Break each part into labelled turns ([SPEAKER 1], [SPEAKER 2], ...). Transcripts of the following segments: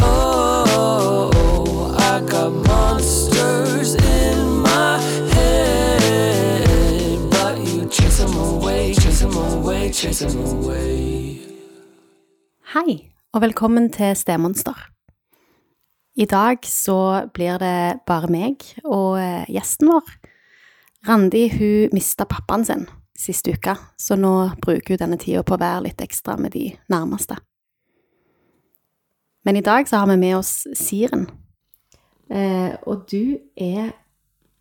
[SPEAKER 1] Oh, chase them away.
[SPEAKER 2] Hei, og velkommen til Stemonster. I dag så blir det bare meg og eh, gjesten vår. Randi hun mista pappaen sin sist uke, så nå bruker hun denne tida på å være litt ekstra med de nærmeste. Men i dag så har vi med oss Siren.
[SPEAKER 3] Eh, og du er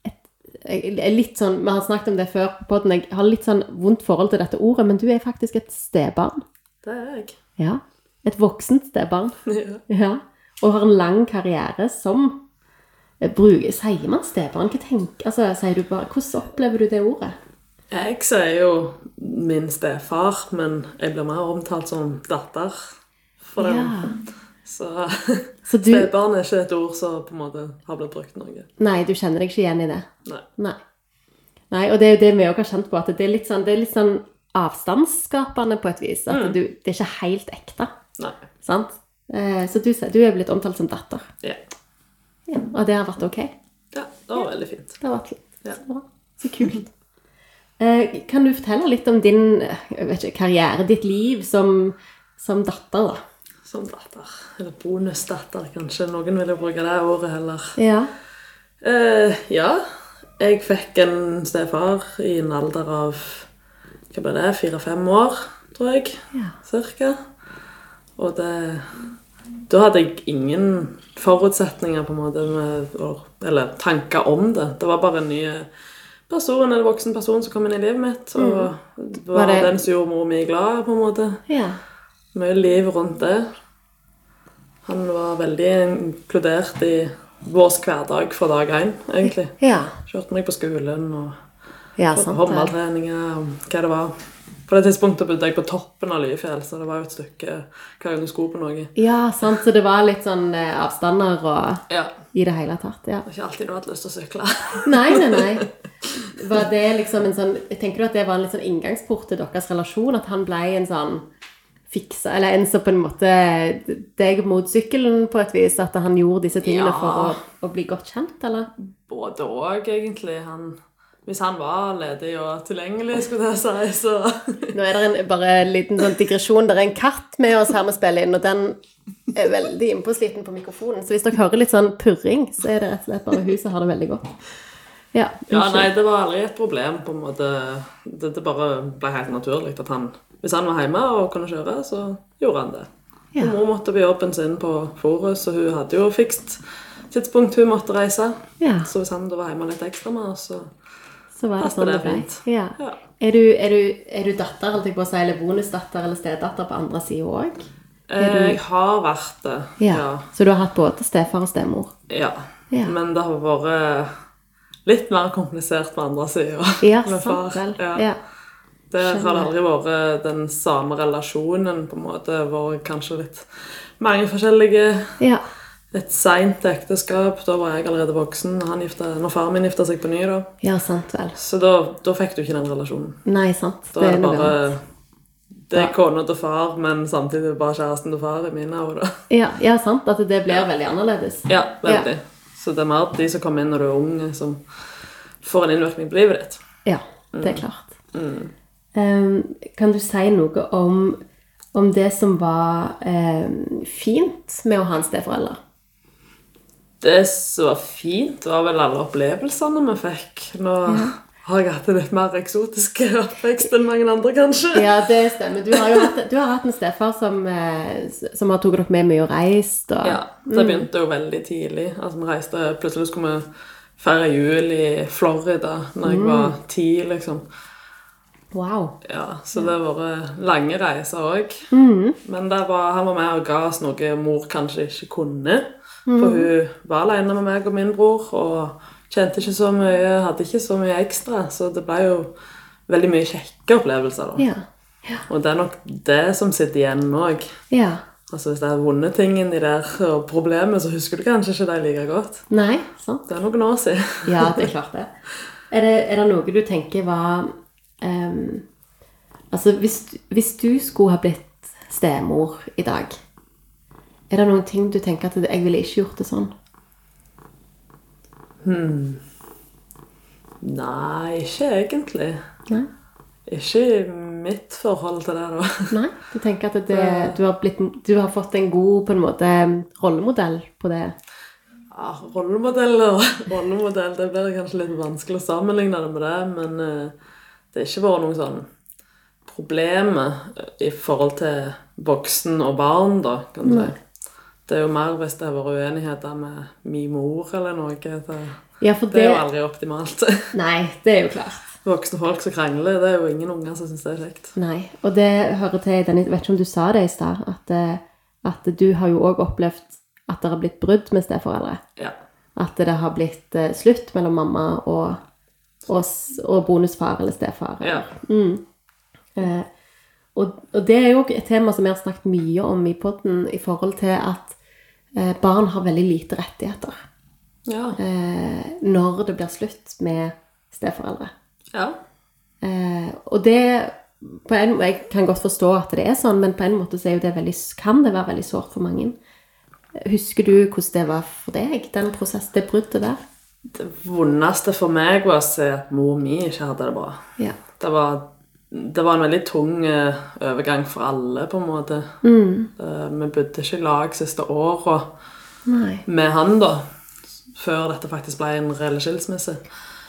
[SPEAKER 3] et, jeg er litt sånn, Vi har snakket om det før på podden, jeg har litt sånn vondt forhold til dette ordet, men du er faktisk et stebarn.
[SPEAKER 4] Det er jeg.
[SPEAKER 3] Ja. Et voksent stebarn.
[SPEAKER 4] Ja.
[SPEAKER 3] Ja. Og har en lang karriere som eh, bruker, Sier man stebarn? Hva tenker, altså, sier du bare, Hvordan opplever du det ordet?
[SPEAKER 4] Jeg sier jo min stefar, men jeg blir mer omtalt som datter for dem. Så
[SPEAKER 3] Så du,
[SPEAKER 4] stebarn er ikke et ord som på en måte har blitt brukt noe.
[SPEAKER 3] nei, du kjenner deg ikke igjen i det?
[SPEAKER 4] Nei.
[SPEAKER 3] Nei. Nei, og det er jo det vi òg har kjent på, at det er litt sånn, det er litt sånn avstandsskapende på et vis. At du, det er ikke helt ekte.
[SPEAKER 4] Mm. Nei.
[SPEAKER 3] Sant? Eh, så du, sier- du er blitt omtalt som datter.
[SPEAKER 4] Ja.
[SPEAKER 3] Ja, og det har vært ok?
[SPEAKER 4] ja. Det var veldig fint.
[SPEAKER 3] Det har vært fint.
[SPEAKER 4] Ja.
[SPEAKER 3] Så bra. Så kult. Eh, kan du fortelle litt om din eh, jeg vet ikke, karriere, ditt liv som, som datter, da?
[SPEAKER 4] Som datter. Eller bonusdatter, kanskje. Noen vil jo bruke det ordet heller.
[SPEAKER 3] Ja.
[SPEAKER 4] Eh, ja. Jeg fikk en stefar i en alder av hva ble det, fire-fem år, tror jeg.
[SPEAKER 3] Ja.
[SPEAKER 4] Cirka. Og det Da hadde jeg ingen forutsetninger på en måte med, å- eller tanker om det. Det var bare en ny person, eller voksen person som kom inn i livet mitt. Og det var,
[SPEAKER 3] Mm. Var det-
[SPEAKER 4] den som gjorde mor mi glad, på en måte.
[SPEAKER 3] ja.
[SPEAKER 4] Mye liv rundt det. Han var veldig inkludert i vår hverdag fra dag én, egentlig.
[SPEAKER 3] Ja.
[SPEAKER 4] Kjørte meg på skolen og
[SPEAKER 3] Ja,
[SPEAKER 4] på
[SPEAKER 3] sant. det.
[SPEAKER 4] håndballtreninger og hva det var. På det tidspunktet bodde jeg på toppen av Lyfjell, så det var jo et stykke hver gang du skulle på noe.
[SPEAKER 3] Ja, sant. Så det var litt sånn eh, avstander og
[SPEAKER 4] Ja,
[SPEAKER 3] i det hele tatt. Ja.
[SPEAKER 4] Det var ikke alltid du hadde lyst til å sykle.
[SPEAKER 3] Nei, nei, nei. Var det liksom en sånn, tenker du at det var en litt sånn inngangsport til deres relasjon? At han ble en sånn fiksa, eller en som på en måte deg mot sykkelen på et vis? At han gjorde disse
[SPEAKER 4] Ja.
[SPEAKER 3] tingene for å, å bli godt kjent, eller?
[SPEAKER 4] Både òg, egentlig. Han, hvis han var ledig og tilgjengelig, skulle jeg si, så
[SPEAKER 3] Nå er det en, bare en liten sånn digresjon. Det er en katt med oss her vi spiller inn, og den er veldig innpåsliten på mikrofonen. Så hvis dere hører litt sånn purring, så er det rett og slett bare hun som har det veldig godt. Ja,
[SPEAKER 4] Ja,
[SPEAKER 3] unnskyld.
[SPEAKER 4] nei, det var aldri et problem, på en måte. Det, det bare ble helt naturlig at han Hvis han var hjemme og kunne kjøre, så gjorde han det.
[SPEAKER 3] Ja.
[SPEAKER 4] Og Mor måtte på jobben sin på Forus, og hun hadde jo fikst tidspunkt hun måtte reise.
[SPEAKER 3] Ja.
[SPEAKER 4] Så hvis han da var hjemme litt ekstra med oss, så
[SPEAKER 3] Så var det
[SPEAKER 4] Passer
[SPEAKER 3] sånn det
[SPEAKER 4] det
[SPEAKER 3] ble.
[SPEAKER 4] fint.
[SPEAKER 3] Ja.
[SPEAKER 4] Ja.
[SPEAKER 3] Er, du, er, du, er du datter, holdt jeg på å si, eller bonusdatter eller stedatter på andre sida òg?
[SPEAKER 4] eh, Jeg har vært det, ja.
[SPEAKER 3] Så du har hatt både stefar og stemor?
[SPEAKER 4] Ja.
[SPEAKER 3] Ja.
[SPEAKER 4] Men det har vært litt mer komplisert på andre sida.
[SPEAKER 3] Ja, sant vel.
[SPEAKER 4] Ja.
[SPEAKER 3] Ja.
[SPEAKER 4] Der har det
[SPEAKER 3] skjønner.
[SPEAKER 4] aldri vært den samme relasjonen, på en måte. Det har vært kanskje litt mange forskjellige.
[SPEAKER 3] Ja.
[SPEAKER 4] Et seint ekteskap. Da var jeg allerede voksen han gifta, når far min gifta seg på ny. da.
[SPEAKER 3] ja, sant vel.
[SPEAKER 4] Så da, da fikk du ikke den relasjonen.
[SPEAKER 3] Nei, sant.
[SPEAKER 4] Da er det
[SPEAKER 3] noe
[SPEAKER 4] bare
[SPEAKER 3] annet.
[SPEAKER 4] Det er
[SPEAKER 3] Ja.
[SPEAKER 4] kona til far, men samtidig bare kjæresten til far i mine øyne.
[SPEAKER 3] ja, ja, sant. At det blir veldig annerledes.
[SPEAKER 4] Ja, veldig. Så det er mer de som kommer inn når du er ung, som får en innvirkning på livet ditt.
[SPEAKER 3] Ja,
[SPEAKER 4] Mm.
[SPEAKER 3] det er klart. Ehm, kan du si noe om, om det som var ehm, fint med å ha en steforelder?
[SPEAKER 4] Det som var fint, var vel alle opplevelsene vi fikk. Nå har jeg hatt en litt mer eksotisk oppvekst enn mange andre, kanskje.
[SPEAKER 3] Ja, det stemmer. Du har jo hatt, du har hatt en stefar som, eh, som har tatt dere med mye og reist. Og,
[SPEAKER 4] Ja, Det begynte jo veldig tidlig. Altså, vi reiste, Plutselig skulle vi feire jul i Florida når jeg var ti, liksom.
[SPEAKER 3] Wow.
[SPEAKER 4] Ja, Så det har vært lange reiser òg.
[SPEAKER 3] Mhm.
[SPEAKER 4] Men der var, han var med og ga oss noe mor kanskje ikke kunne.
[SPEAKER 3] Mhm.
[SPEAKER 4] For hun var alene med meg og min bror og kjente ikke så mye, hadde ikke så mye ekstra. Så det ble jo veldig mye kjekke opplevelser. da.
[SPEAKER 3] Ja.
[SPEAKER 4] Og det er nok det som sitter igjen òg.
[SPEAKER 3] ja.
[SPEAKER 4] Altså, hvis det er vonde ting inni der og problemet, så husker du kanskje ikke det like godt.
[SPEAKER 3] Nei, sant?
[SPEAKER 4] Det er noen år siden.
[SPEAKER 3] Ja, det er klart det. Er det, er det noe du tenker var ehm, Altså, hvis, hvis du skulle ha blitt stemor i dag, er det noen ting du tenker at jeg ville ikke gjort det sånn?
[SPEAKER 4] Nei, ikke egentlig.
[SPEAKER 3] Nei?
[SPEAKER 4] Ikke i mitt forhold til det, da.
[SPEAKER 3] Nei, du tenker at det, du, har blitt, du har fått en god på en måte, rollemodell på det?
[SPEAKER 4] Ja, Ah, rollemodell og rollemodell, det blir kanskje litt vanskelig å sammenligne det med det, men eh, det har ikke vært noe sånn problem i forhold til voksen og barn, da, kan du si. Det er jo mer hvis det har vært uenigheter med min mor eller noe. Det,
[SPEAKER 3] Ja, for
[SPEAKER 4] det
[SPEAKER 3] det,
[SPEAKER 4] er jo aldri optimalt.
[SPEAKER 3] Nei, det er jo klart.
[SPEAKER 4] Voksne folk som krangler, det er jo ingen unger som syns det er kjekt.
[SPEAKER 3] Nei, og det hører til i den Jeg vet ikke om du sa det i stad, at, eh, at du har jo òg opplevd at det har blitt brudd med steforeldre.
[SPEAKER 4] Ja.
[SPEAKER 3] At det har blitt eh, slutt mellom mamma og, og, s- og bonusfar eller stefar.
[SPEAKER 4] ja.
[SPEAKER 3] Eh, og, og det er jo et tema som vi har snakket mye om i podden i forhold til at eh, barn har veldig lite rettigheter
[SPEAKER 4] Ja.
[SPEAKER 3] eh, når det blir slutt med steforeldre.
[SPEAKER 4] ja.
[SPEAKER 3] Eh, og det på en, Jeg kan godt forstå at det er sånn, men på en måte så er jo det veldig, kan det være veldig sårt for mange. Husker du hvordan det var for deg, den prosess, det bruddet der?
[SPEAKER 4] Det vondeste for meg var å se at mor mi ikke hadde det bra.
[SPEAKER 3] Ja.
[SPEAKER 4] Det var, det var en veldig tung eh, overgang for alle, på en måte.
[SPEAKER 3] Mm.
[SPEAKER 4] Eh, vi bodde ikke i lag siste året
[SPEAKER 3] Nei.
[SPEAKER 4] med han, da. Før dette faktisk ble en reell skilsmisse.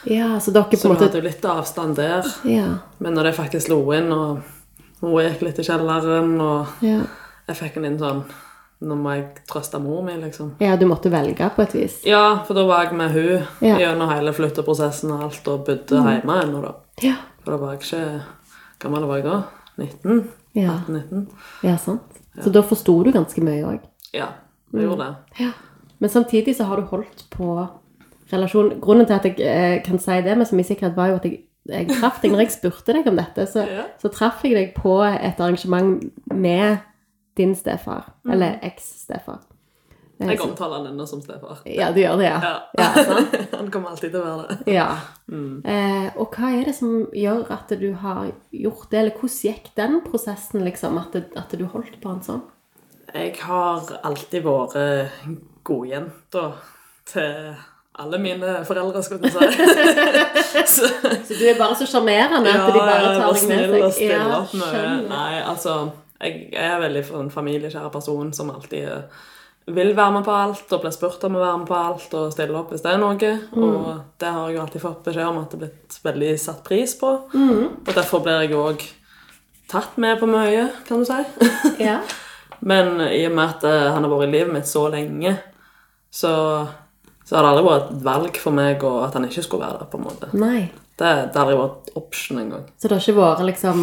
[SPEAKER 3] Ja, så dere på
[SPEAKER 4] Så
[SPEAKER 3] en
[SPEAKER 4] vi
[SPEAKER 3] måte
[SPEAKER 4] hadde jo litt avstand der.
[SPEAKER 3] Ja.
[SPEAKER 4] Men når det faktisk slo inn, og hun gikk litt i kjelleren, og
[SPEAKER 3] Ja.
[SPEAKER 4] jeg fikk en inn sånn Nå må jeg trøste mor mi, liksom.
[SPEAKER 3] ja, du måtte velge på et vis.
[SPEAKER 4] Ja, for da var jeg med hun
[SPEAKER 3] Ja. Mm.
[SPEAKER 4] gjennom hele flytteprosessen og alt, og bodde hjemme ennå, da.
[SPEAKER 3] Ja.
[SPEAKER 4] For da var jeg ikke gammel var jeg da? 19?
[SPEAKER 3] Ja,
[SPEAKER 4] 19?
[SPEAKER 3] ja sant. Så da forsto du ganske mye òg.
[SPEAKER 4] Ja, jeg gjorde det.
[SPEAKER 3] Ja. Men samtidig så har du holdt på relasjon. Grunnen til at jeg eh, kan si det med så mye sikkerhet, var jo at jeg, jeg traff deg når jeg spurte deg om dette. Så,
[SPEAKER 4] Ja.
[SPEAKER 3] så traff jeg deg på et arrangement med din stefar,
[SPEAKER 4] Mm.
[SPEAKER 3] eller eks-stefar. Eh,
[SPEAKER 4] Jeg
[SPEAKER 3] så-
[SPEAKER 4] omtaler han ennå som stefar.
[SPEAKER 3] Ja, du gjør det, ja.
[SPEAKER 4] Ja.
[SPEAKER 3] Ja, sant?
[SPEAKER 4] han kommer alltid til å være det.
[SPEAKER 3] ja.
[SPEAKER 4] Mm.
[SPEAKER 3] Eh, og hva er det som gjør at du har gjort det, eller hvordan gikk den prosessen, liksom, at, det, at du holdt på han sånn?
[SPEAKER 4] Jeg har alltid vært godjenta til alle mine foreldre, skulle jeg til å si. Så,
[SPEAKER 3] Så du er bare så sjarmerende
[SPEAKER 4] ja,
[SPEAKER 3] at de bare
[SPEAKER 4] jeg
[SPEAKER 3] tar
[SPEAKER 4] var
[SPEAKER 3] deg med
[SPEAKER 4] snill
[SPEAKER 3] seg?
[SPEAKER 4] og stille opp
[SPEAKER 3] skjønner.
[SPEAKER 4] med Nei, altså Jeg er veldig for en familiekjær person som alltid eh, vil være med på alt og blir spurt om å være med på alt og stille opp hvis det er noe.
[SPEAKER 3] Mm.
[SPEAKER 4] Og det har jeg jo alltid fått beskjed om at det er blitt veldig satt pris på.
[SPEAKER 3] Mm.
[SPEAKER 4] Og derfor blir jeg jo òg tatt med på mye, kan du si.
[SPEAKER 3] Ja.
[SPEAKER 4] Men i og med at eh, han har vært i livet mitt så lenge, så, så har det aldri vært et valg for meg og at han ikke skulle være der. på en måte.
[SPEAKER 3] Nei.
[SPEAKER 4] Det, det har aldri vært option engang.
[SPEAKER 3] Så det har ikke vært liksom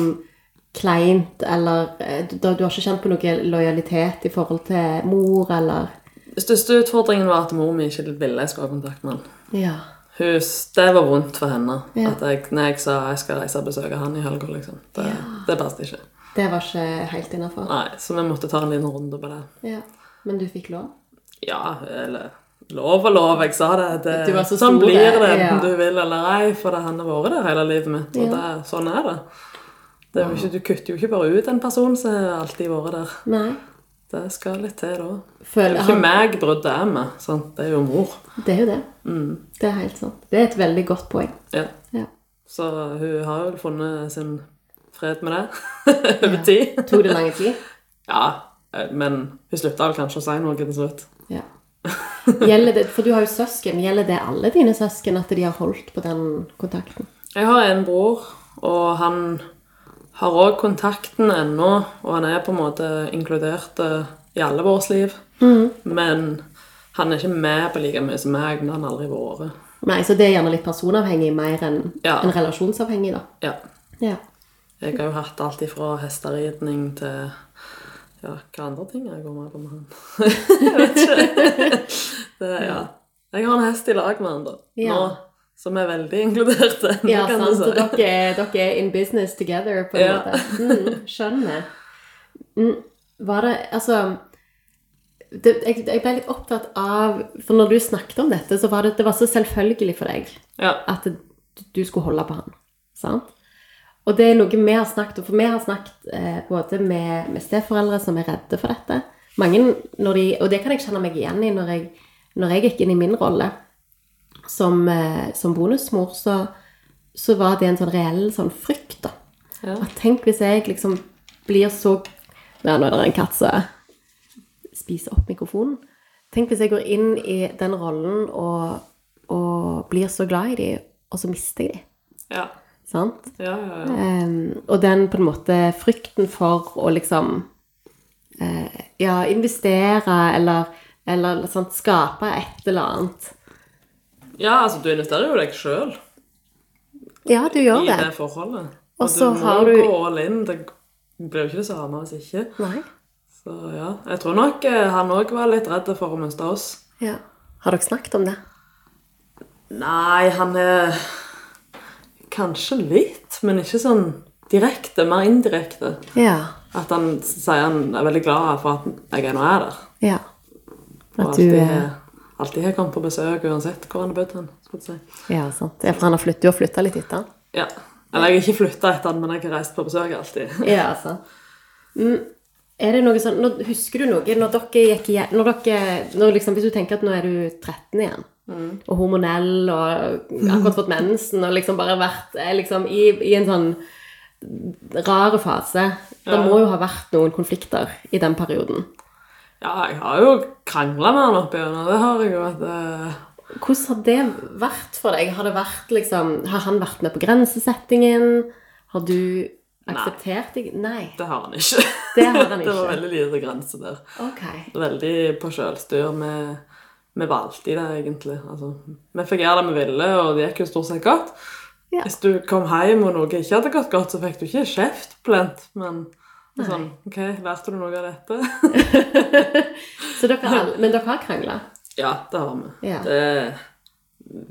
[SPEAKER 3] kleint, eller eh, du, du har ikke kjent på noe lojalitet i forhold til mor, eller
[SPEAKER 4] Den største utfordringen var at mor mi ikke ville jeg skulle ha kontakt med han.
[SPEAKER 3] Ja.
[SPEAKER 4] Hun, det var vondt for henne.
[SPEAKER 3] Ja.
[SPEAKER 4] At jeg, når jeg sa jeg skal reise og besøke han i helga, liksom. Det, det passet ikke.
[SPEAKER 3] Det var ikke helt innafor.
[SPEAKER 4] Nei, Så vi måtte ta en liten runde på det.
[SPEAKER 3] Ja. Men du fikk lov?
[SPEAKER 4] Ja, eller lov og lov, jeg sa det. det
[SPEAKER 3] Du var så
[SPEAKER 4] sånn
[SPEAKER 3] stor,
[SPEAKER 4] blir det enten
[SPEAKER 3] ja.
[SPEAKER 4] du vil eller ei, for det, han har vært der hele livet mitt. Og
[SPEAKER 3] Ja.
[SPEAKER 4] det, sånn er det. det er jo ikke, du kutter jo ikke bare ut en person som har alltid vært der.
[SPEAKER 3] Nei.
[SPEAKER 4] Det skal litt til, da. Det er
[SPEAKER 3] Føler
[SPEAKER 4] jo ikke
[SPEAKER 3] han
[SPEAKER 4] meg bruddet er med. Sant? Det er jo mor.
[SPEAKER 3] Det er jo det. Det er helt sant. Det er et veldig godt poeng.
[SPEAKER 4] Ja.
[SPEAKER 3] Ja.
[SPEAKER 4] Så hun har jo funnet sin fred med det over tid.
[SPEAKER 3] Tok det lang tid?
[SPEAKER 4] Ja, eh, men hun slutta vel kanskje å si noe til slutt.
[SPEAKER 3] Ja. Gjelder det, for du har jo søsken. Gjelder det alle dine søsken at de har holdt på den kontakten?
[SPEAKER 4] Jeg har en bror, og han har òg kontakten ennå. Og han er på en måte inkludert eh, i alle vårt liv. Men han er ikke med på like mye som meg, men han har aldri vært.
[SPEAKER 3] Nei, så det er gjerne litt personavhengig mer enn
[SPEAKER 4] Ja.
[SPEAKER 3] enn relasjonsavhengig, da.
[SPEAKER 4] Ja.
[SPEAKER 3] Ja.
[SPEAKER 4] Jeg har jo hatt alt ifra hesteridning til ja, hva andre ting jeg går med på med han. jeg vet ikke. Det, ja. Jeg har en hest i lag med han da,
[SPEAKER 3] Ja.
[SPEAKER 4] nå, som er veldig inkludert. ennå,
[SPEAKER 3] Ja,
[SPEAKER 4] kan
[SPEAKER 3] sant.
[SPEAKER 4] du
[SPEAKER 3] Så
[SPEAKER 4] si.
[SPEAKER 3] dere, er- dere er in business together, på en
[SPEAKER 4] Ja.
[SPEAKER 3] måte. Mm, skjønner. Mm, var det Altså det, jeg, jeg ble litt opptatt av For når du snakket om dette, så var det, det var så selvfølgelig for deg
[SPEAKER 4] Ja,
[SPEAKER 3] at du skulle holde på han. Sant? Og det er noe vi har snakket om, for vi har snakket eh, både med, med steforeldre som er redde for dette. Mange, når de, og det kan jeg kjenne meg igjen i når jeg, når jeg gikk inn i min rolle som, eh, som bonusmor, så, så var det en sånn reell sånn frykt da,
[SPEAKER 4] Ja.
[SPEAKER 3] At tenk hvis jeg liksom blir så Ja, nå er det en katt som spiser opp mikrofonen. Tenk hvis jeg går inn i den rollen og, og blir så glad i dem, og så mister jeg dem.
[SPEAKER 4] Ja.
[SPEAKER 3] Sant?
[SPEAKER 4] Ja, ja, ja.
[SPEAKER 3] Ehm, og den på en måte frykten for å liksom eh, Ja, investere eller, eller sant, skape et eller annet.
[SPEAKER 4] ja, altså du investerer jo deg sjøl
[SPEAKER 2] Ja, du gjør
[SPEAKER 4] i
[SPEAKER 2] det.
[SPEAKER 4] det forholdet. Og,
[SPEAKER 3] Og så
[SPEAKER 4] du må
[SPEAKER 3] har du-
[SPEAKER 4] gå all in. Det blir jo ikke det samme hvis ikke.
[SPEAKER 3] Nei.
[SPEAKER 4] Så ja. Jeg tror nok eh, han òg var litt redd for å miste oss.
[SPEAKER 3] Ja. Har dere snakket om det?
[SPEAKER 4] Nei, han er Kanskje litt, men ikke sånn direkte. Mer indirekte.
[SPEAKER 3] Ja.
[SPEAKER 4] At han sier han er veldig glad for at jeg ennå er der.
[SPEAKER 3] ja.
[SPEAKER 4] Og
[SPEAKER 3] At du
[SPEAKER 4] alltid,
[SPEAKER 3] eh,
[SPEAKER 4] alltid har kommet på besøk uansett hvor han har bodd. hen, skulle jeg si.
[SPEAKER 3] Ja, sant. Ja, for han har flyttet, du har flytta litt etter han.
[SPEAKER 4] Ja. Eller jeg har ikke flytta etter han, men jeg har reist på besøk alltid.
[SPEAKER 3] Ja, sant. Mm, er det noe sånn, nå, Husker du noe når dere gikk igjen når dere, når liksom, Hvis du tenker at nå er du 13 igjen, og hormonell og akkurat fått mensen og liksom bare vært eh, liksom, i, i en sånn rar fase Det må jo ha vært noen konflikter i den perioden.
[SPEAKER 4] Ja, jeg har jo krangla med han oppi øynene. Det har jeg jo. at eh,
[SPEAKER 3] Hvordan har det vært for deg? Har, det vært, liksom, har han vært med på grensesettingen? Har du akseptert deg? Nei.
[SPEAKER 4] Det har han ikke.
[SPEAKER 3] Det har han
[SPEAKER 4] det var
[SPEAKER 3] ikke.
[SPEAKER 4] veldig lite grense der.
[SPEAKER 3] Ok.
[SPEAKER 4] veldig på sjølstyr. Vi, vi valgte i det, egentlig. Altså, vi fikk gjøre det vi ville, og det gikk jo stort sett godt.
[SPEAKER 3] Ja.
[SPEAKER 4] Hvis du kom hjem og noe ikke hadde gått godt, så fikk du ikke kjeft, plent, men det er sånn OK, lærte du noe av dette?
[SPEAKER 3] Så dere har, all- men dere har krangla?
[SPEAKER 4] ja, det har vi.
[SPEAKER 3] Ja.
[SPEAKER 4] Det,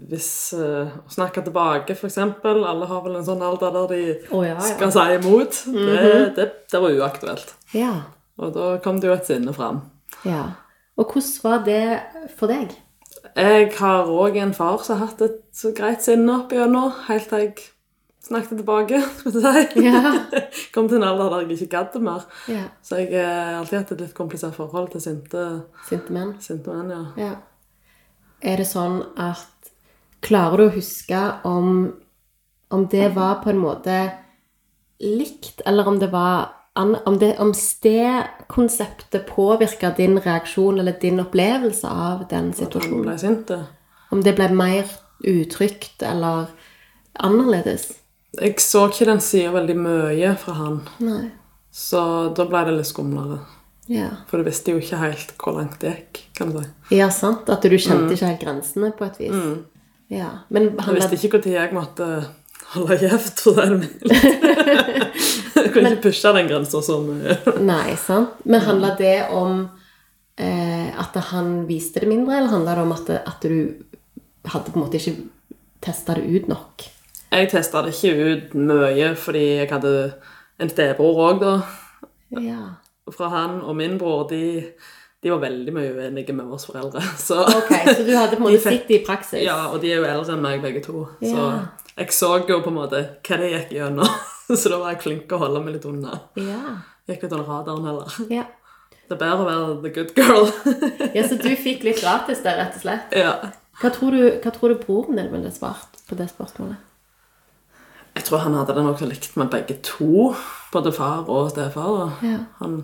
[SPEAKER 4] hvis eh, Å snakke tilbake, for eksempel. Alle har vel en sånn alder der de
[SPEAKER 3] Å, ja, Mhm. ja.
[SPEAKER 4] skal si imot. det, det, det var uaktuelt.
[SPEAKER 3] Ja.
[SPEAKER 4] Og da kom det jo et sinne fram.
[SPEAKER 3] ja. Og hvordan var det for deg?
[SPEAKER 4] Jeg har òg en far som har hatt et så greit sinne opp igjennom, helt til jeg snakket tilbake, skulle jeg si.
[SPEAKER 3] Ja.
[SPEAKER 4] Kom til en alder der jeg ikke gadd det mer.
[SPEAKER 3] Ja.
[SPEAKER 4] Så jeg eh, har alltid hatt et litt komplisert forhold til sinte,
[SPEAKER 3] Sinte menn?
[SPEAKER 4] sinte menn, ja.
[SPEAKER 3] Ja. Er det sånn at Klarer du å huske om, om det var på en måte likt, eller om det var an, Om, det- om stedkonseptet påvirka din reaksjon eller din opplevelse av den
[SPEAKER 4] At han
[SPEAKER 3] situasjonen?
[SPEAKER 4] ble sint.
[SPEAKER 3] Om det ble mer utrygt eller annerledes?
[SPEAKER 4] Jeg så ikke den sida veldig mye fra han,
[SPEAKER 3] Nei.
[SPEAKER 4] så da ble det litt skumlere.
[SPEAKER 3] Ja.
[SPEAKER 4] For du visste jo ikke helt hvor langt det gikk, kan du si.
[SPEAKER 3] Ja, sant. At du kjente ikke helt grensene på et vis. Ja. Men
[SPEAKER 4] Jeg
[SPEAKER 3] han
[SPEAKER 4] visste ikke når jeg måtte holde kjeft, for å si det mildt. Jeg kunne ikke pushe den eh, grensa så mye.
[SPEAKER 3] Nei, sant. Men handla det om eh, at han viste det mindre, eller handla det om at, at du hadde på en måte ikke testa det ut nok?
[SPEAKER 4] Jeg testa det ikke ut mye fordi jeg hadde en stebror òg, da.
[SPEAKER 3] Ja.
[SPEAKER 4] Fra han og min bror. De, de var veldig mye uenige med oss foreldre. Så.
[SPEAKER 3] Ok, Så du hadde på en måte
[SPEAKER 4] fikk-
[SPEAKER 3] sett det i praksis?
[SPEAKER 4] Ja, og de er jo eldre enn meg, begge to.
[SPEAKER 3] Ja.
[SPEAKER 4] Så jeg så jo på en måte hva de gikk gjennom. Så da var jeg flink til å holde meg litt unna.
[SPEAKER 3] Ja.
[SPEAKER 4] Gikk litt under radaren heller.
[SPEAKER 3] ja.
[SPEAKER 4] Det er bedre å være the good girl.
[SPEAKER 3] ja så du fikk litt gratis der, rett og slett?
[SPEAKER 4] ja.
[SPEAKER 3] Hva tror du, hva tror du broren din ville svart på det spørsmålet?
[SPEAKER 4] Jeg tror han hadde det nokså likt med begge to. Både far og stefar. da.
[SPEAKER 3] Ja.
[SPEAKER 4] Han,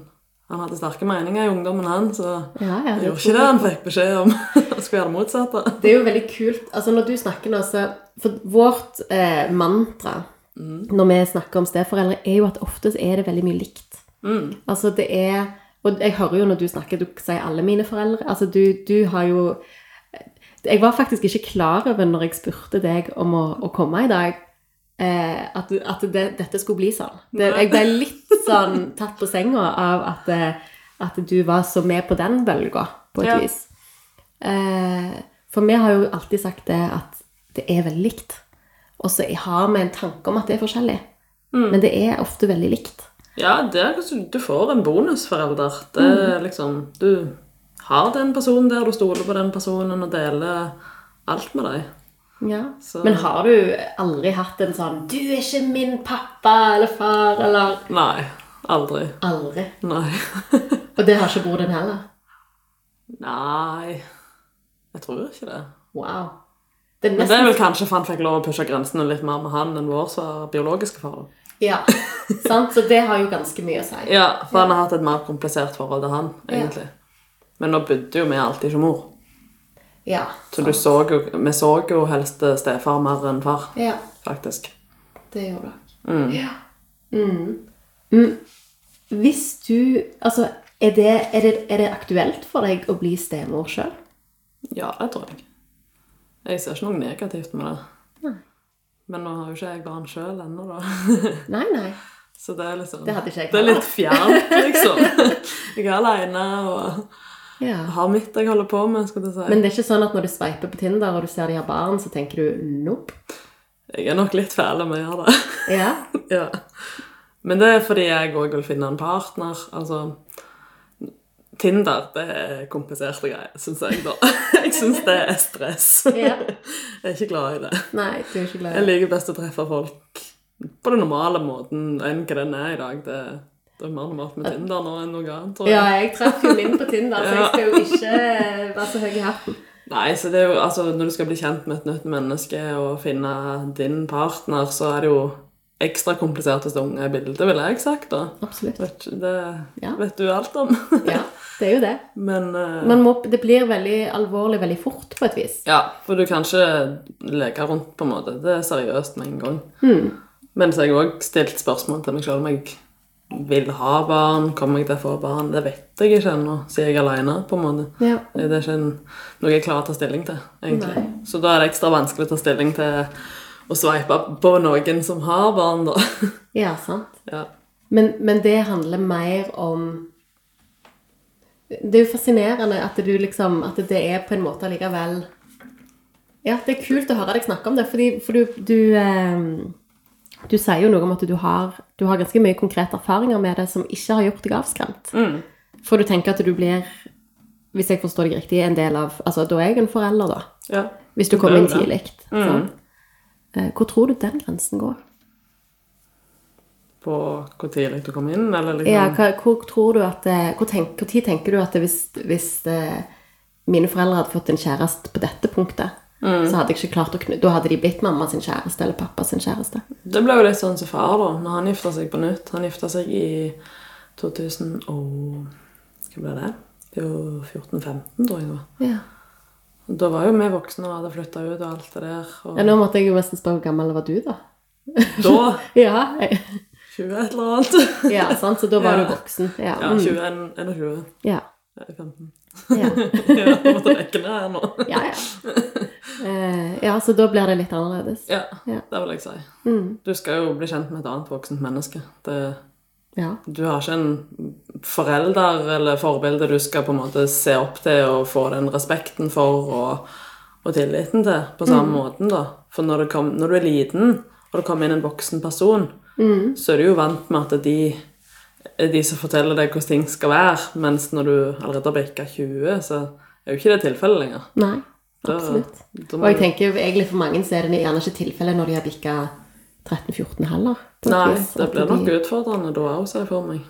[SPEAKER 4] han hadde sterke meninger i ungdommen, han, så
[SPEAKER 3] Ja, ja,
[SPEAKER 4] Han
[SPEAKER 3] det
[SPEAKER 4] gjorde ikke det han fikk beskjed om. Han skulle gjøre det motsatte.
[SPEAKER 3] Det er jo veldig kult. Altså, når du snakker nå, så For vårt eh, mantra når vi snakker om steforeldre, er jo at ofte så er det veldig mye likt. Altså, det er Og jeg hører jo når du snakker, du sier alle mine foreldre. Altså, du, du har jo Jeg var faktisk ikke klar over når jeg spurte deg om å, å komme i dag. Eh, at du- at det, dette skulle bli sånn. Det, jeg ble litt sånn tatt på senga av at, eh, at du var så med på den bølga, på et
[SPEAKER 4] Ja.
[SPEAKER 3] vis. Eh, for vi har jo alltid sagt det at det er veldig likt. Og så har vi en tanke om at det er forskjellig. Men det er ofte veldig likt.
[SPEAKER 4] Ja, det er, kanskje- du får en bonusforelder. Det er liksom, du har den personen der, du stoler på den personen og deler alt med deg. Så-
[SPEAKER 3] Men har du aldri hatt en sånn 'Du er ikke min pappa eller far' eller
[SPEAKER 4] Nei. Aldri.
[SPEAKER 3] Aldri.
[SPEAKER 4] Nei.
[SPEAKER 3] Og det har ikke broren din heller.
[SPEAKER 4] Nei Jeg tror ikke det.
[SPEAKER 3] Wow. Det er
[SPEAKER 4] Men det er
[SPEAKER 3] nesten
[SPEAKER 4] vel kanskje for han fikk lov å pushe grensene litt mer med han enn vår så biologiske far. da.
[SPEAKER 3] Ja, sant? Så det har jo ganske mye å si.
[SPEAKER 4] Ja, for han har hatt et mer komplisert forhold til han, egentlig. Men nå bodde jo vi alltid ikke mor.
[SPEAKER 3] Ja.
[SPEAKER 4] Så du så jo, vi så jo helst stefar mer enn far,
[SPEAKER 3] ja
[SPEAKER 4] faktisk.
[SPEAKER 3] det gjorde dere. Ja. Mm. Mm. Hvis du Altså, er det, er, det, er det aktuelt for deg å bli stemor sjøl?
[SPEAKER 4] Ja, det tror jeg. Jeg ser ikke noe negativt med det. Men nå har jo ikke jeg barn sjøl ennå, da.
[SPEAKER 3] Nei, nei.
[SPEAKER 4] Så det er liksom
[SPEAKER 3] Det hadde ikke jeg
[SPEAKER 4] Det er litt fjernt, liksom. Jeg er aleine og
[SPEAKER 3] Ja.
[SPEAKER 4] har mitt jeg holder på med, skal du si.
[SPEAKER 3] Men det er ikke sånn at når du sveiper på Tinder og du ser de har barn, så tenker du nope?
[SPEAKER 4] Jeg er nok litt fæl om jeg gjør det.
[SPEAKER 3] Ja.
[SPEAKER 4] ja. Men det er fordi jeg òg vil finne en partner. Altså Tinder, det er kompliserte greier, syns jeg, da. Jeg syns det er stress.
[SPEAKER 3] Ja.
[SPEAKER 4] Jeg er ikke glad i det.
[SPEAKER 3] Nei, du er ikke glad
[SPEAKER 4] Jeg
[SPEAKER 3] i det.
[SPEAKER 4] liker best å treffe folk på den normale måten enn hva den er i dag. Det, det er mer normalt med Tinder nå enn noe annet, tror jeg.
[SPEAKER 3] Ja, jeg traff jo min på Tinder, så jeg
[SPEAKER 4] Ja.
[SPEAKER 3] skal jo ikke eh, være så høy i hatten.
[SPEAKER 4] Nei, så det er jo, altså, Når du skal bli kjent med et nytt menneske og finne din partner, så er det jo ekstra komplisert hvis det er unge i bildet, ville jeg sagt. da.
[SPEAKER 3] Absolutt.
[SPEAKER 4] Vet, ikke- det
[SPEAKER 3] Ja.
[SPEAKER 4] vet du alt om.
[SPEAKER 3] Ja, det er jo det.
[SPEAKER 4] Men eh,
[SPEAKER 3] Man må, det blir veldig alvorlig veldig fort, på et vis.
[SPEAKER 4] ja, for du kan ikke leke rundt, på en måte. Det er seriøst med en gang.
[SPEAKER 3] Hmm.
[SPEAKER 4] Men så har jeg òg stilt spørsmål til meg sjøl om jeg vil ha barn. Kommer jeg til å få barn? Det vet jeg ikke ennå, siden jeg er aleine, på en måte.
[SPEAKER 3] Ja.
[SPEAKER 4] Det er ikke en, noe jeg klarer å ta stilling til, egentlig.
[SPEAKER 3] Nei.
[SPEAKER 4] Så da er det ekstra vanskelig å ta stilling til å sveipe på noen som har barn, da.
[SPEAKER 3] Ja, sant.
[SPEAKER 4] ja.
[SPEAKER 3] Men, men det handler mer om Det er jo fascinerende at du liksom At det er på en måte allikevel Ja, det er kult å høre deg snakke om det, fordi, for du du, ehm, du sier jo noe om at du har, du har ganske mye konkrete erfaringer med det som ikke har gjort deg avskremt. For du tenker at du blir, hvis jeg forstår deg riktig, en del av Altså, da er jeg en forelder, da.
[SPEAKER 4] ja.
[SPEAKER 3] Hvis du kommer inn
[SPEAKER 4] Det er jo
[SPEAKER 3] tidlig. sant? Eh, Hvor tror du den grensen går?
[SPEAKER 4] På hvor tidlig du kom inn, eller
[SPEAKER 3] Ja,
[SPEAKER 4] liksom
[SPEAKER 3] hva, hvor tror du at eh, hvor, tenk, hvor tid tenker du at det hvis, hvis eh, mine foreldre hadde fått en kjæreste på dette punktet,
[SPEAKER 4] Mm.
[SPEAKER 3] så hadde jeg ikke klart å knu... Da hadde de blitt mamma sin kjæreste eller pappa sin kjæreste.
[SPEAKER 4] Det ble jo litt sånn som far, da, når han gifta seg på nytt. Han gifta seg i 2000 og Hva ble det? Det er jo 14-15, tror jeg det var.
[SPEAKER 3] Ja.
[SPEAKER 4] Da var jo vi voksne og hadde flytta ut og alt det der. Og
[SPEAKER 3] nå måtte jeg jo nesten spørre hvor gammel var du, da?
[SPEAKER 4] da
[SPEAKER 3] Ja, eh,
[SPEAKER 4] 20 et eller annet.
[SPEAKER 3] ja sant? så da var
[SPEAKER 4] Ja.
[SPEAKER 3] du voksen. Ja.
[SPEAKER 4] Ja,
[SPEAKER 3] mm.
[SPEAKER 4] 21, 21.
[SPEAKER 3] ja.
[SPEAKER 4] Ja, 15.
[SPEAKER 3] Ja.
[SPEAKER 4] Ja, jeg måtte rekke ned her nå.
[SPEAKER 3] Ja, ja. Eh, ja, så da blir det litt annerledes.
[SPEAKER 4] Ja,
[SPEAKER 3] Ja. Mm.
[SPEAKER 4] det vil jeg si. Du skal jo bli kjent med et annet voksent menneske. Det,
[SPEAKER 3] Ja.
[SPEAKER 4] du har ikke en forelder eller forbilde du skal på en måte se opp til og få den respekten for og, og tilliten til på samme måten, da. For når du, kom, når du er liten, og det kommer inn en voksen person, så er du jo vant med at de er de som forteller deg hvordan ting skal være, mens når du allerede har bikka 20, så er jo ikke det tilfellet lenger.
[SPEAKER 3] Nei,
[SPEAKER 4] Da-
[SPEAKER 3] absolutt.
[SPEAKER 4] da må
[SPEAKER 3] Og jeg
[SPEAKER 4] du-
[SPEAKER 3] tenker jo egentlig for mange så er det gjerne ikke tilfellet når de har bikka 13-14 heller. på et
[SPEAKER 4] Nei,
[SPEAKER 3] vis, Mm.
[SPEAKER 4] det
[SPEAKER 3] at
[SPEAKER 4] blir
[SPEAKER 3] de-
[SPEAKER 4] nok utfordrende da òg, ser jeg for meg.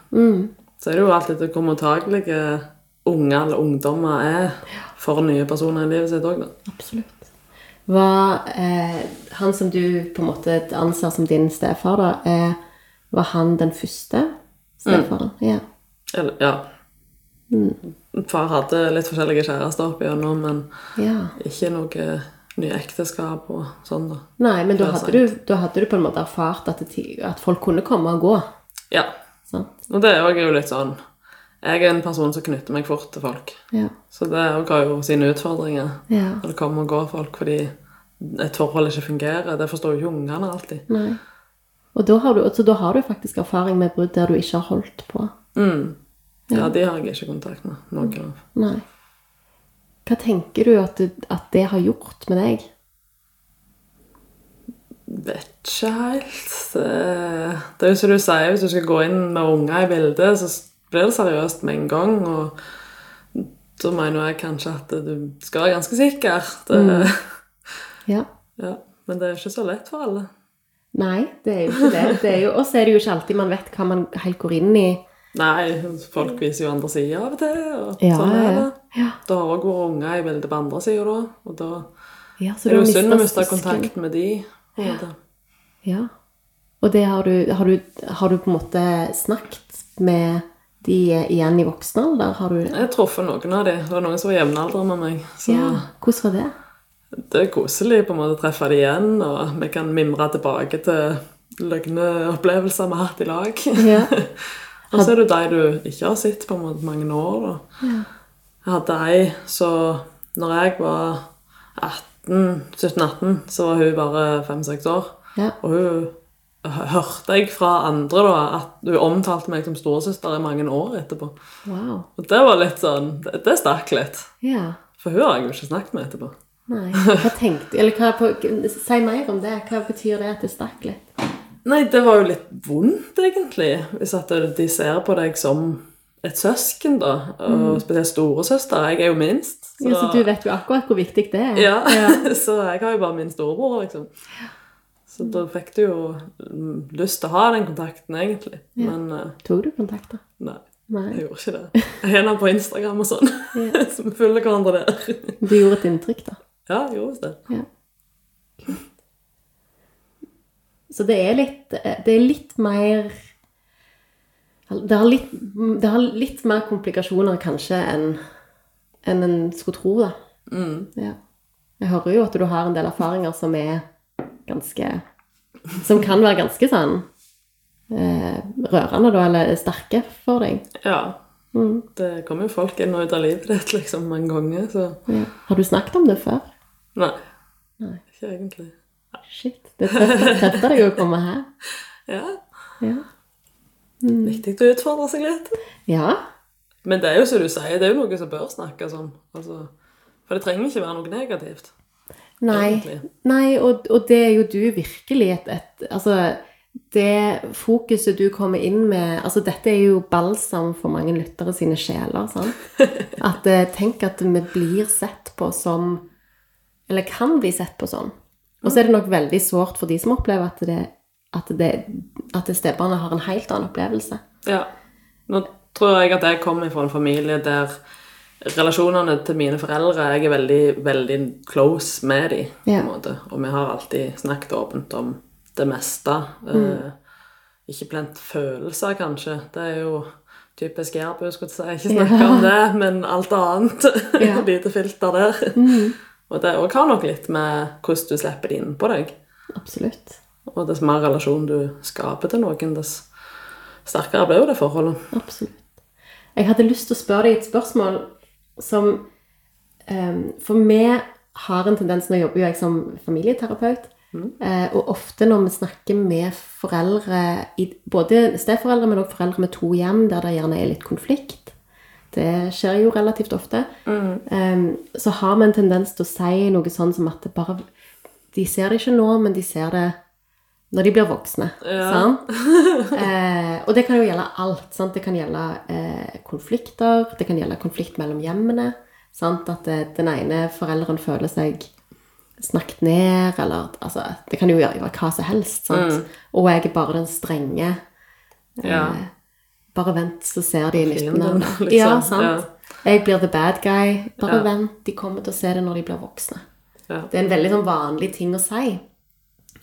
[SPEAKER 4] Så er det jo alt etter hvor mottagelige unger eller ungdommer er for nye personer i livet sitt òg, da.
[SPEAKER 3] Absolutt. Var eh, han som du på en måte anser som din stefar, da, eh, var han den første stefaren? Ja.
[SPEAKER 4] Eller, ja.
[SPEAKER 3] Mm.
[SPEAKER 4] Far hadde litt forskjellige kjærester opp igjennom, men
[SPEAKER 3] ja.
[SPEAKER 4] ikke noe nye ekteskap og sånn, da.
[SPEAKER 3] Nei, men
[SPEAKER 4] Det
[SPEAKER 3] da
[SPEAKER 4] er
[SPEAKER 3] hadde, du, da hadde du på en måte erfart at, det, ti- at folk kunne komme og gå.
[SPEAKER 4] Ja.
[SPEAKER 3] Sant?
[SPEAKER 4] Og det er òg jo litt sånn Jeg er en person som knytter meg fort til folk.
[SPEAKER 3] Ja.
[SPEAKER 4] Så det òg har jo sine utfordringer.
[SPEAKER 3] ja.
[SPEAKER 4] Når det kommer og går folk fordi et forhold ikke fungerer. Det forstår jo ikke ungene alltid.
[SPEAKER 3] Nei. Og da har, du, så da har du faktisk erfaring med brudd der du ikke har holdt på.
[SPEAKER 4] Ja, de har jeg ikke kontakt med. Noen av.
[SPEAKER 3] Nei. Hva tenker du at, du, at det har gjort med deg?
[SPEAKER 4] Vet ikke helt. Det- Det er jo som du sier, hvis du skal gå inn med unger i bildet, så blir det seriøst med en gang. Og da mener jeg kanskje at du skal være ganske sikker. Det,
[SPEAKER 3] Mm. Ja.
[SPEAKER 4] ja, men det er ikke så lett for alle.
[SPEAKER 3] Nei, det er jo ikke det. det er jo, og så er det jo ikke alltid man vet hva man helt går inn i.
[SPEAKER 4] Nei, folk viser jo andre sider av og til. Og
[SPEAKER 3] Ja,
[SPEAKER 4] sånn er det.
[SPEAKER 3] ja.
[SPEAKER 4] Det har òg vært unger i bildet på andre sida da. Og da
[SPEAKER 3] Ja,
[SPEAKER 4] er
[SPEAKER 3] så
[SPEAKER 4] det
[SPEAKER 3] har
[SPEAKER 4] jo synd å
[SPEAKER 3] mistet
[SPEAKER 4] miste
[SPEAKER 3] søsken.
[SPEAKER 4] kontakt med de. på en måte.
[SPEAKER 3] Ja. Og det har du, har, du, har du på en måte snakket med de igjen i voksen alder? Har du
[SPEAKER 4] Jeg har truffet noen av de. Det var noen som var jevnaldrende med meg. Så
[SPEAKER 3] Ja. Hvordan var det?
[SPEAKER 4] det er koselig på en måte å treffe de igjen, og vi kan mimre tilbake til løgne opplevelser vi har hatt i lag.
[SPEAKER 3] Ja.
[SPEAKER 4] Og så er det de du ikke har sett på en måte mange år. Da. Jeg hadde ei så når jeg var 17-18, så var hun bare 5-6 år.
[SPEAKER 3] Ja.
[SPEAKER 4] Og hun hø- hørte jeg fra andre da, at hun omtalte meg som storesøster i mange år etterpå.
[SPEAKER 3] Wow.
[SPEAKER 4] Og det var litt sånn Det, det stakk litt.
[SPEAKER 3] Ja.
[SPEAKER 4] For hun har jeg jo ikke snakket med etterpå.
[SPEAKER 3] Nei. Hva tenkte Eller hva på- Si mer om det. Hva betyr det at det stakk litt?
[SPEAKER 4] Nei, det var jo litt vondt, egentlig. Hvis at de ser på deg som et søsken, da. Og spesielt storesøster. Jeg er jo minst. så
[SPEAKER 3] Mm. Ja, så du vet jo akkurat hvor viktig det er.
[SPEAKER 4] Ja, så jeg har jo bare min storebror, liksom. Så da fikk du jo mm, lyst til å ha den kontakten, egentlig. Men eh,
[SPEAKER 3] Tok du kontakt, da?
[SPEAKER 4] nei,
[SPEAKER 3] Nei.
[SPEAKER 4] jeg gjorde ikke det. Jeg er nå på Instagram og sånn, så vi følger hverandre der.
[SPEAKER 3] Du gjorde et inntrykk, da.
[SPEAKER 4] Ja, jeg gjorde visst det.
[SPEAKER 3] Ja. Kult. Så det er litt Det er litt mer Det har litt, det har litt mer komplikasjoner kanskje enn enn en skulle tro, da. Ja. Jeg hører jo at du har en del erfaringer som er ganske Som kan være ganske sånn eh, rørende, da, eller sterke for deg. Mm.
[SPEAKER 4] Ja. Det kommer jo folk inn og ut av livet ditt liksom mange ganger, så
[SPEAKER 3] Ja. Har du snakket om det før?
[SPEAKER 4] nei.
[SPEAKER 3] Nei.
[SPEAKER 4] Ikke egentlig.
[SPEAKER 3] Shit. Det treffer treffer deg å komme her.
[SPEAKER 4] Ja.
[SPEAKER 3] Ja.
[SPEAKER 4] Viktig å utfordre seg litt.
[SPEAKER 3] ja.
[SPEAKER 4] Men det er jo som du sier, det er jo noe som bør snakkes om. Altså, for det trenger ikke være noe negativt.
[SPEAKER 3] Nei,
[SPEAKER 4] egentlig.
[SPEAKER 3] nei og, og det er jo du virkelig et, et Altså, det fokuset du kommer inn med Altså, dette er jo balsam for mange lyttere sine sjeler, sant? At eh, tenk at vi blir sett på som Eller kan bli sett på sånn. Og så er det nok veldig sårt for de som opplever at det at, det, at det stebarnet har en helt annen opplevelse.
[SPEAKER 4] Ja. Nå tror jeg at jeg kommer fra en familie der relasjonene til mine foreldre Jeg er veldig, veldig close med dem, på
[SPEAKER 3] Ja.
[SPEAKER 4] en måte. Og vi har alltid snakket åpent om det meste.
[SPEAKER 3] Mm.
[SPEAKER 4] Eh, ikke blant følelser, kanskje. Det er jo typisk jærbu, skulle jeg si. Ikke snakke om det, men alt annet.
[SPEAKER 3] Ja. Mm.
[SPEAKER 4] Lite filter der. Og det òg har nok litt med hvordan du slipper det inn på deg.
[SPEAKER 3] Absolutt.
[SPEAKER 4] Og dess mer relasjon du skaper til noen, dess sterkere blir jo det forholdet.
[SPEAKER 3] Absolutt. Jeg hadde lyst til å spørre deg et spørsmål som eh, For vi har en tendens Nå jobber jo jeg som familieterapeut. eh, og ofte når vi snakker med foreldre, i, både steforeldre, men også foreldre med to hjem, der det gjerne er litt konflikt Det skjer jo relativt ofte. eh, så har vi en tendens til å si noe sånn som at det bare De ser det ikke nå, men de ser det når de blir voksne. Sant? Eh, og det kan jo gjelde alt. Sant? Det kan gjelde eh, konflikter, det kan gjelde konflikt mellom hjemmene. Sant? At eh, den ene forelderen føler seg snakket ned, eller at- altså, Det kan jo gjøre gjøre hva som helst. Sant? Og jeg er bare den strenge.
[SPEAKER 4] Ja.
[SPEAKER 3] Eh, Bare vent, så ser de nytten av
[SPEAKER 4] Fienden,
[SPEAKER 3] det.
[SPEAKER 4] liksom.
[SPEAKER 3] Ja, sant? Jeg blir the bad guy.
[SPEAKER 4] Ja.
[SPEAKER 3] Bare vent, de kommer til å se det når de blir voksne.
[SPEAKER 4] Ja.
[SPEAKER 3] Det er en veldig sånn vanlig ting å si.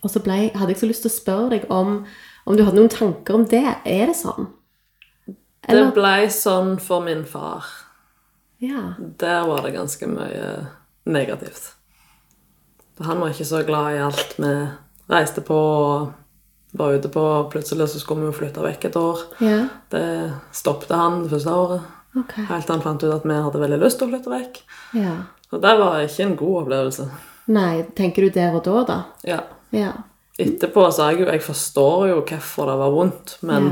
[SPEAKER 3] Og så ble, jeg- hadde jeg så lyst til å spørre deg om, om du hadde noen tanker om det. Er det sånn?
[SPEAKER 4] Det
[SPEAKER 3] Eller-
[SPEAKER 4] blei sånn for min far.
[SPEAKER 3] Ja.
[SPEAKER 4] Der var det ganske mye negativt. For Han var ikke så glad i alt vi reiste på og var ute på. Plutselig så skulle vi jo flytte vekk et år.
[SPEAKER 3] Ja.
[SPEAKER 4] Det stoppet han det første året.
[SPEAKER 3] Ok.
[SPEAKER 4] Helt til han fant ut at vi hadde veldig lyst til å flytte vekk.
[SPEAKER 3] Ja.
[SPEAKER 4] Og det var ikke en god opplevelse.
[SPEAKER 3] Nei, tenker du der og da, da?
[SPEAKER 4] Ja.
[SPEAKER 3] Ja.
[SPEAKER 4] Etterpå sa jeg jo jeg forstår jo hvorfor det var vondt, men
[SPEAKER 3] Ja.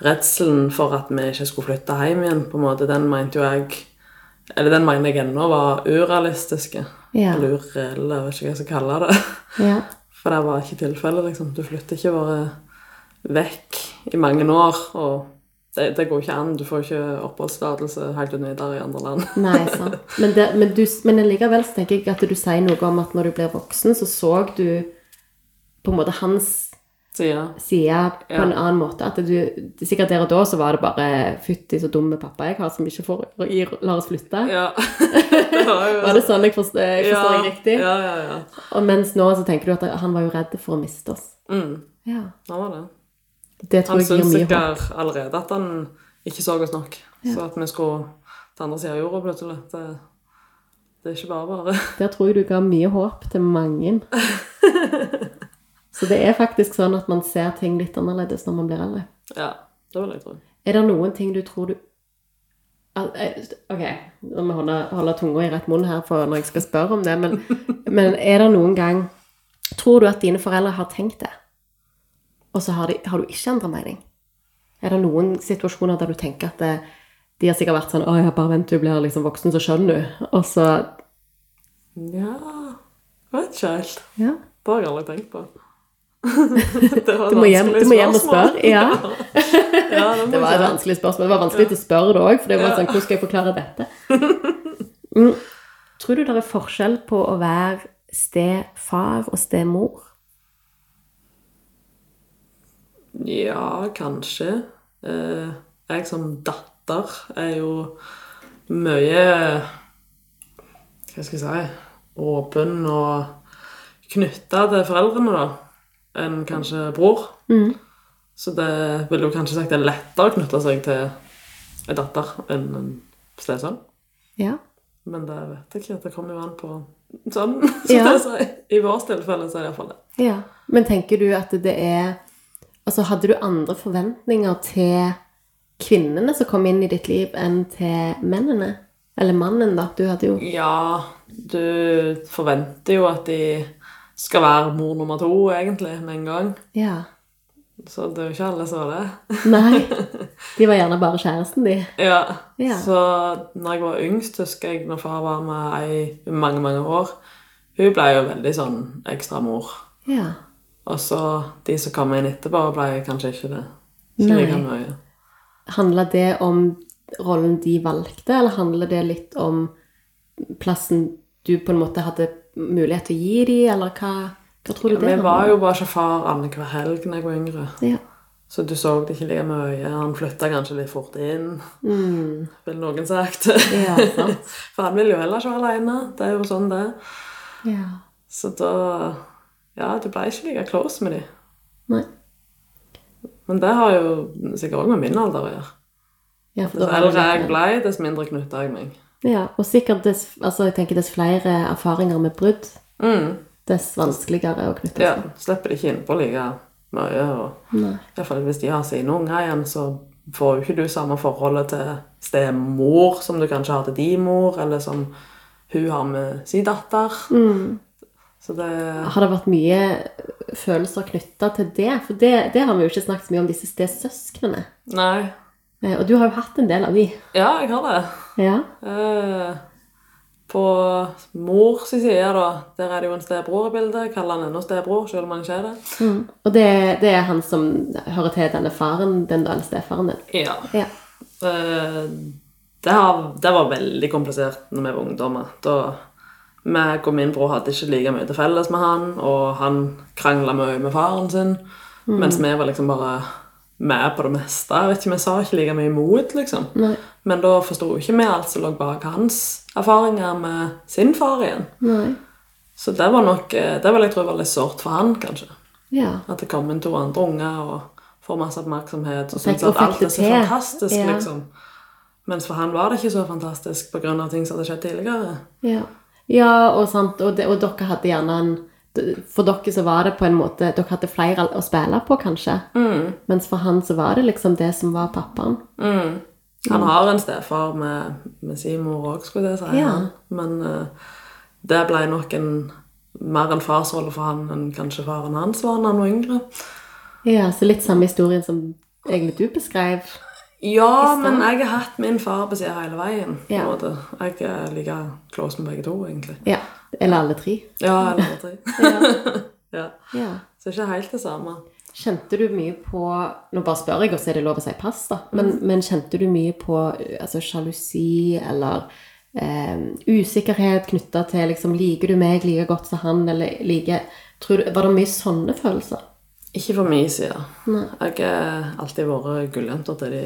[SPEAKER 4] redselen for at vi ikke skulle flytte hjem igjen, på en måte, den mente jo jeg Eller den mener jeg ennå var urealistiske.
[SPEAKER 3] Ja.
[SPEAKER 4] Eller ureelle, jeg vet ikke hva jeg skal kalle det.
[SPEAKER 3] Ja.
[SPEAKER 4] For det var ikke tilfellet, liksom. Du flytter ikke bare vekk i mange år, og det, det går ikke an. Du får ikke oppholdstillatelse helt uten videre i andre land.
[SPEAKER 3] Nei, sant. Men, det, men, du, men likevel så tenker jeg at du sier noe om at når du blir voksen, så så du på en måte hans
[SPEAKER 4] Sida.
[SPEAKER 3] side på
[SPEAKER 4] Ja.
[SPEAKER 3] en annen måte. At du, sikkert der og da så var det bare 'fytti så dumme pappa jeg har, som ikke får, gir, lar oss flytte'.
[SPEAKER 4] Ja. det var jo
[SPEAKER 3] Var det sånn jeg forstår, jeg forstår
[SPEAKER 4] ja,
[SPEAKER 3] jeg riktig?
[SPEAKER 4] Ja, ja, ja.
[SPEAKER 3] Og mens nå så tenker du at han var jo redd for å miste oss.
[SPEAKER 4] Mm,
[SPEAKER 3] Ja.
[SPEAKER 4] det var det.
[SPEAKER 3] Det tror
[SPEAKER 4] Han
[SPEAKER 3] jeg
[SPEAKER 4] syntes
[SPEAKER 3] gir mye håp.
[SPEAKER 4] sikkert allerede at han ikke så oss nok. Så at vi skulle til andre siden av jorda plutselig. Det, det er ikke bare bare.
[SPEAKER 3] Der tror jeg du ga mye håp til mange. Så det er faktisk sånn at man ser ting litt annerledes når man blir eldre.
[SPEAKER 4] Ja, det vil jeg tro.
[SPEAKER 3] Er det noen ting du tror du Al- eh, Ok, nå må jeg holde, holde tunga i rett munn her for når jeg skal spørre om det, men, men er det noen gang Tror du at dine foreldre har tenkt det, og så har, de, har du ikke endra mening? Er det noen situasjoner der du tenker at det, de har sikkert vært sånn 'Å ja, bare vent til du blir liksom voksen, så skjønner du', og så
[SPEAKER 4] Ja, jeg vet ikke helt.
[SPEAKER 3] Ja.
[SPEAKER 4] Det har jeg aldri tenkt på. det var et
[SPEAKER 3] Du må hjem,
[SPEAKER 4] vanskelig
[SPEAKER 3] du må hjem og
[SPEAKER 4] spørsmål.
[SPEAKER 3] spørre. Ja.
[SPEAKER 4] Ja, det, må
[SPEAKER 3] Det var
[SPEAKER 4] jeg
[SPEAKER 3] et
[SPEAKER 4] si.
[SPEAKER 3] vanskelig spørsmål. Det var vanskelig å spørre det òg, for det var
[SPEAKER 4] Ja.
[SPEAKER 3] sånn Hvordan skal jeg forklare dette? Mm. Tror du det er forskjell på å være stefar og stemor?
[SPEAKER 4] Ja, kanskje. Eh, jeg som datter er jo mye Hva skal jeg si Åpen og knytta til foreldrene, da, enn kanskje bror. Så det ville jo kanskje sagt det er lettere å knytte seg til en datter enn en stesønn.
[SPEAKER 3] Ja.
[SPEAKER 4] Men det vet jeg ikke. Det kommer jo an på sånn. Så
[SPEAKER 3] Ja.
[SPEAKER 4] det sier- I vårt tilfelle så er det iallfall det.
[SPEAKER 3] ja. Men tenker du at det er Altså, hadde du andre forventninger til kvinnene som kom inn i ditt liv, enn til mennene? Eller mannen, da. Du hadde jo
[SPEAKER 4] Ja, du forventer jo at de skal være mor nummer to, egentlig, med en gang.
[SPEAKER 3] Ja.
[SPEAKER 4] Så det er jo ikke alle som er det.
[SPEAKER 3] Nei. De var gjerne bare kjæresten, de.
[SPEAKER 4] Ja.
[SPEAKER 3] Ja.
[SPEAKER 4] Så når jeg var yngst, husker jeg når far var med ei i mange, mange år. Hun ble jo veldig sånn ekstra mor.
[SPEAKER 3] Ja.
[SPEAKER 4] Og så de som kom inn etterpå, ble kanskje ikke det. Ikke
[SPEAKER 3] Nei.
[SPEAKER 4] like mye.
[SPEAKER 3] Handler det om rollen de valgte, eller handler det litt om plassen du på en måte hadde mulighet til å gi dem, eller hva, hva tror du det
[SPEAKER 4] Vi var jo bare ikke far annenhver helg da jeg var yngre.
[SPEAKER 3] Ja.
[SPEAKER 4] Så du så det ikke like mye. Han flytta kanskje litt fort inn,
[SPEAKER 3] Mm.
[SPEAKER 4] vil noen sagt.
[SPEAKER 3] ja, sant.
[SPEAKER 4] For han vil jo heller ikke være aleine. Det er jo sånn det er.
[SPEAKER 3] Ja.
[SPEAKER 4] Så da Ja, du ble ikke like close med de.
[SPEAKER 3] Nei.
[SPEAKER 4] Men det har jo sikkert òg med min alder å gjøre.
[SPEAKER 3] Ja, for
[SPEAKER 4] Dess
[SPEAKER 3] da var det
[SPEAKER 4] eldre jeg
[SPEAKER 3] litt-
[SPEAKER 4] ble, dess mindre knytta jeg meg.
[SPEAKER 3] ja, og sikkert dess, altså, jeg tenker dess flere erfaringer med brudd,
[SPEAKER 4] Mm,
[SPEAKER 3] dess vanskeligere å knytte
[SPEAKER 4] ja,
[SPEAKER 3] seg.
[SPEAKER 4] Slipper det ikke innpå like mye. Og
[SPEAKER 3] Nei.
[SPEAKER 4] iallfall hvis de har sine unger igjen, så får jo ikke du samme forholdet til stemor som du kanskje har til din mor, eller som hun har med sin datter. Mm. Så det
[SPEAKER 3] Har det vært mye følelser knytta til det? For det, det har vi jo ikke snakket så mye om, disse stesøsknene.
[SPEAKER 4] Nei.
[SPEAKER 3] Eh, Og du har jo hatt en del av de.
[SPEAKER 4] Ja, jeg har det.
[SPEAKER 3] Ja.
[SPEAKER 4] Eh, På mors side, da, der er det jo en stebror i bildet. Jeg Kaller han ennå stebror, selv om han ikke er det.
[SPEAKER 3] Og det, det er han som hører til denne faren, den da, eller stefaren din.
[SPEAKER 4] Ja.
[SPEAKER 3] Ja.
[SPEAKER 4] Eh, Det, har, det var veldig komplisert når vi var ungdommer. Da meg og min bror hadde ikke like mye til felles med han, og han krangla mye med faren sin, mens vi var liksom bare med på det meste. Jeg vet ikke, Vi sa ikke like mye imot, liksom.
[SPEAKER 3] Nei.
[SPEAKER 4] Men da forsto jo ikke vi alt som lå bak hans erfaringer med sin far igjen.
[SPEAKER 3] Nei.
[SPEAKER 4] Så det var nok eh, Det vil jeg tro var litt sårt for han, kanskje.
[SPEAKER 3] Ja.
[SPEAKER 4] At det kom inn to andre unger og får masse oppmerksomhet og
[SPEAKER 3] fikk-
[SPEAKER 4] syns at
[SPEAKER 3] og fikk
[SPEAKER 4] alt er
[SPEAKER 3] det
[SPEAKER 4] så
[SPEAKER 3] til.
[SPEAKER 4] fantastisk,
[SPEAKER 3] Ja.
[SPEAKER 4] liksom. Mens for han var det ikke så fantastisk pga. ting som hadde skjedd tidligere.
[SPEAKER 3] Ja, ja og sant. Og, det, og dere hadde gjerne en For dere så var det på en måte Dere hadde flere å spille på, kanskje. Mens for han så var det liksom det som var pappaen.
[SPEAKER 4] Han har en stefar med, med sin mor òg, skulle jeg si.
[SPEAKER 3] Ja.
[SPEAKER 4] han. Men eh, det ble nok en, mer en farsrolle for han enn kanskje faren hans var da han var yngre.
[SPEAKER 3] Ja, Så litt samme historien som egentlig du beskrev.
[SPEAKER 4] Ja,
[SPEAKER 3] I stand.
[SPEAKER 4] men jeg har hatt min far på sida hele veien. på en
[SPEAKER 3] Ja.
[SPEAKER 4] måte. Jeg er like close med begge to, egentlig.
[SPEAKER 3] Ja. Eller alle tre.
[SPEAKER 4] Ja, eller tre. ja.
[SPEAKER 3] Ja.
[SPEAKER 4] Så ikke helt det samme.
[SPEAKER 3] Kjente du mye på Nå bare spør jeg, og så er det lov å si pass, da. Men, men kjente du mye på eh, altså, sjalusi eller eh, usikkerhet knytta til liksom Liker du meg like godt som han, eller like tror du, Var det mye sånne følelser?
[SPEAKER 4] Ikke for min side.
[SPEAKER 3] Nei.
[SPEAKER 4] Jeg har alltid vært gulljenta til de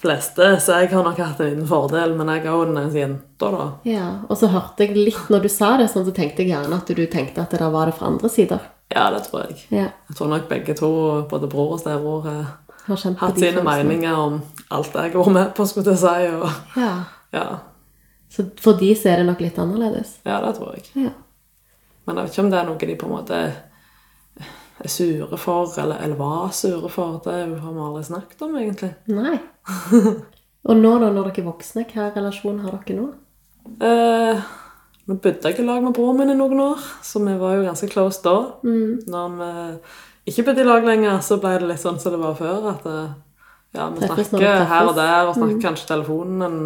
[SPEAKER 4] fleste, så jeg har nok hatt en liten fordel, men jeg er jo den eneste jenta, da.
[SPEAKER 3] Ja, Og så hørte jeg litt når du sa det, sånn så tenkte jeg gjerne at du tenkte at det der var det fra andre sider.
[SPEAKER 4] Ja, det tror jeg.
[SPEAKER 3] Ja,
[SPEAKER 4] Jeg tror nok begge to, både bror og stebror, har
[SPEAKER 3] har kjent på
[SPEAKER 4] hatt
[SPEAKER 3] de
[SPEAKER 4] sine
[SPEAKER 3] følelsene.
[SPEAKER 4] meninger om alt jeg har vært med på, skulle jeg si. Og,
[SPEAKER 3] Ja.
[SPEAKER 4] ja.
[SPEAKER 3] Så for de så er det nok litt annerledes.
[SPEAKER 4] ja, det tror jeg.
[SPEAKER 3] Ja.
[SPEAKER 4] Men jeg vet ikke om det er noe de på en måte er sure for, eller, eller var sure for. Det har vi aldri snakket om, egentlig.
[SPEAKER 3] Nei. Og nå da, når dere er voksne, hva relasjon har dere nå?
[SPEAKER 4] Eh, Nå bodde jeg i lag med broren min i noen år, så vi var jo ganske close da. Når vi ikke bodde i lag lenger, så ble det litt sånn som det var før. At eh, ja, vi
[SPEAKER 3] Treffes når vi
[SPEAKER 4] snakker her og
[SPEAKER 3] treffes.
[SPEAKER 4] der, og snakker kanskje telefonen en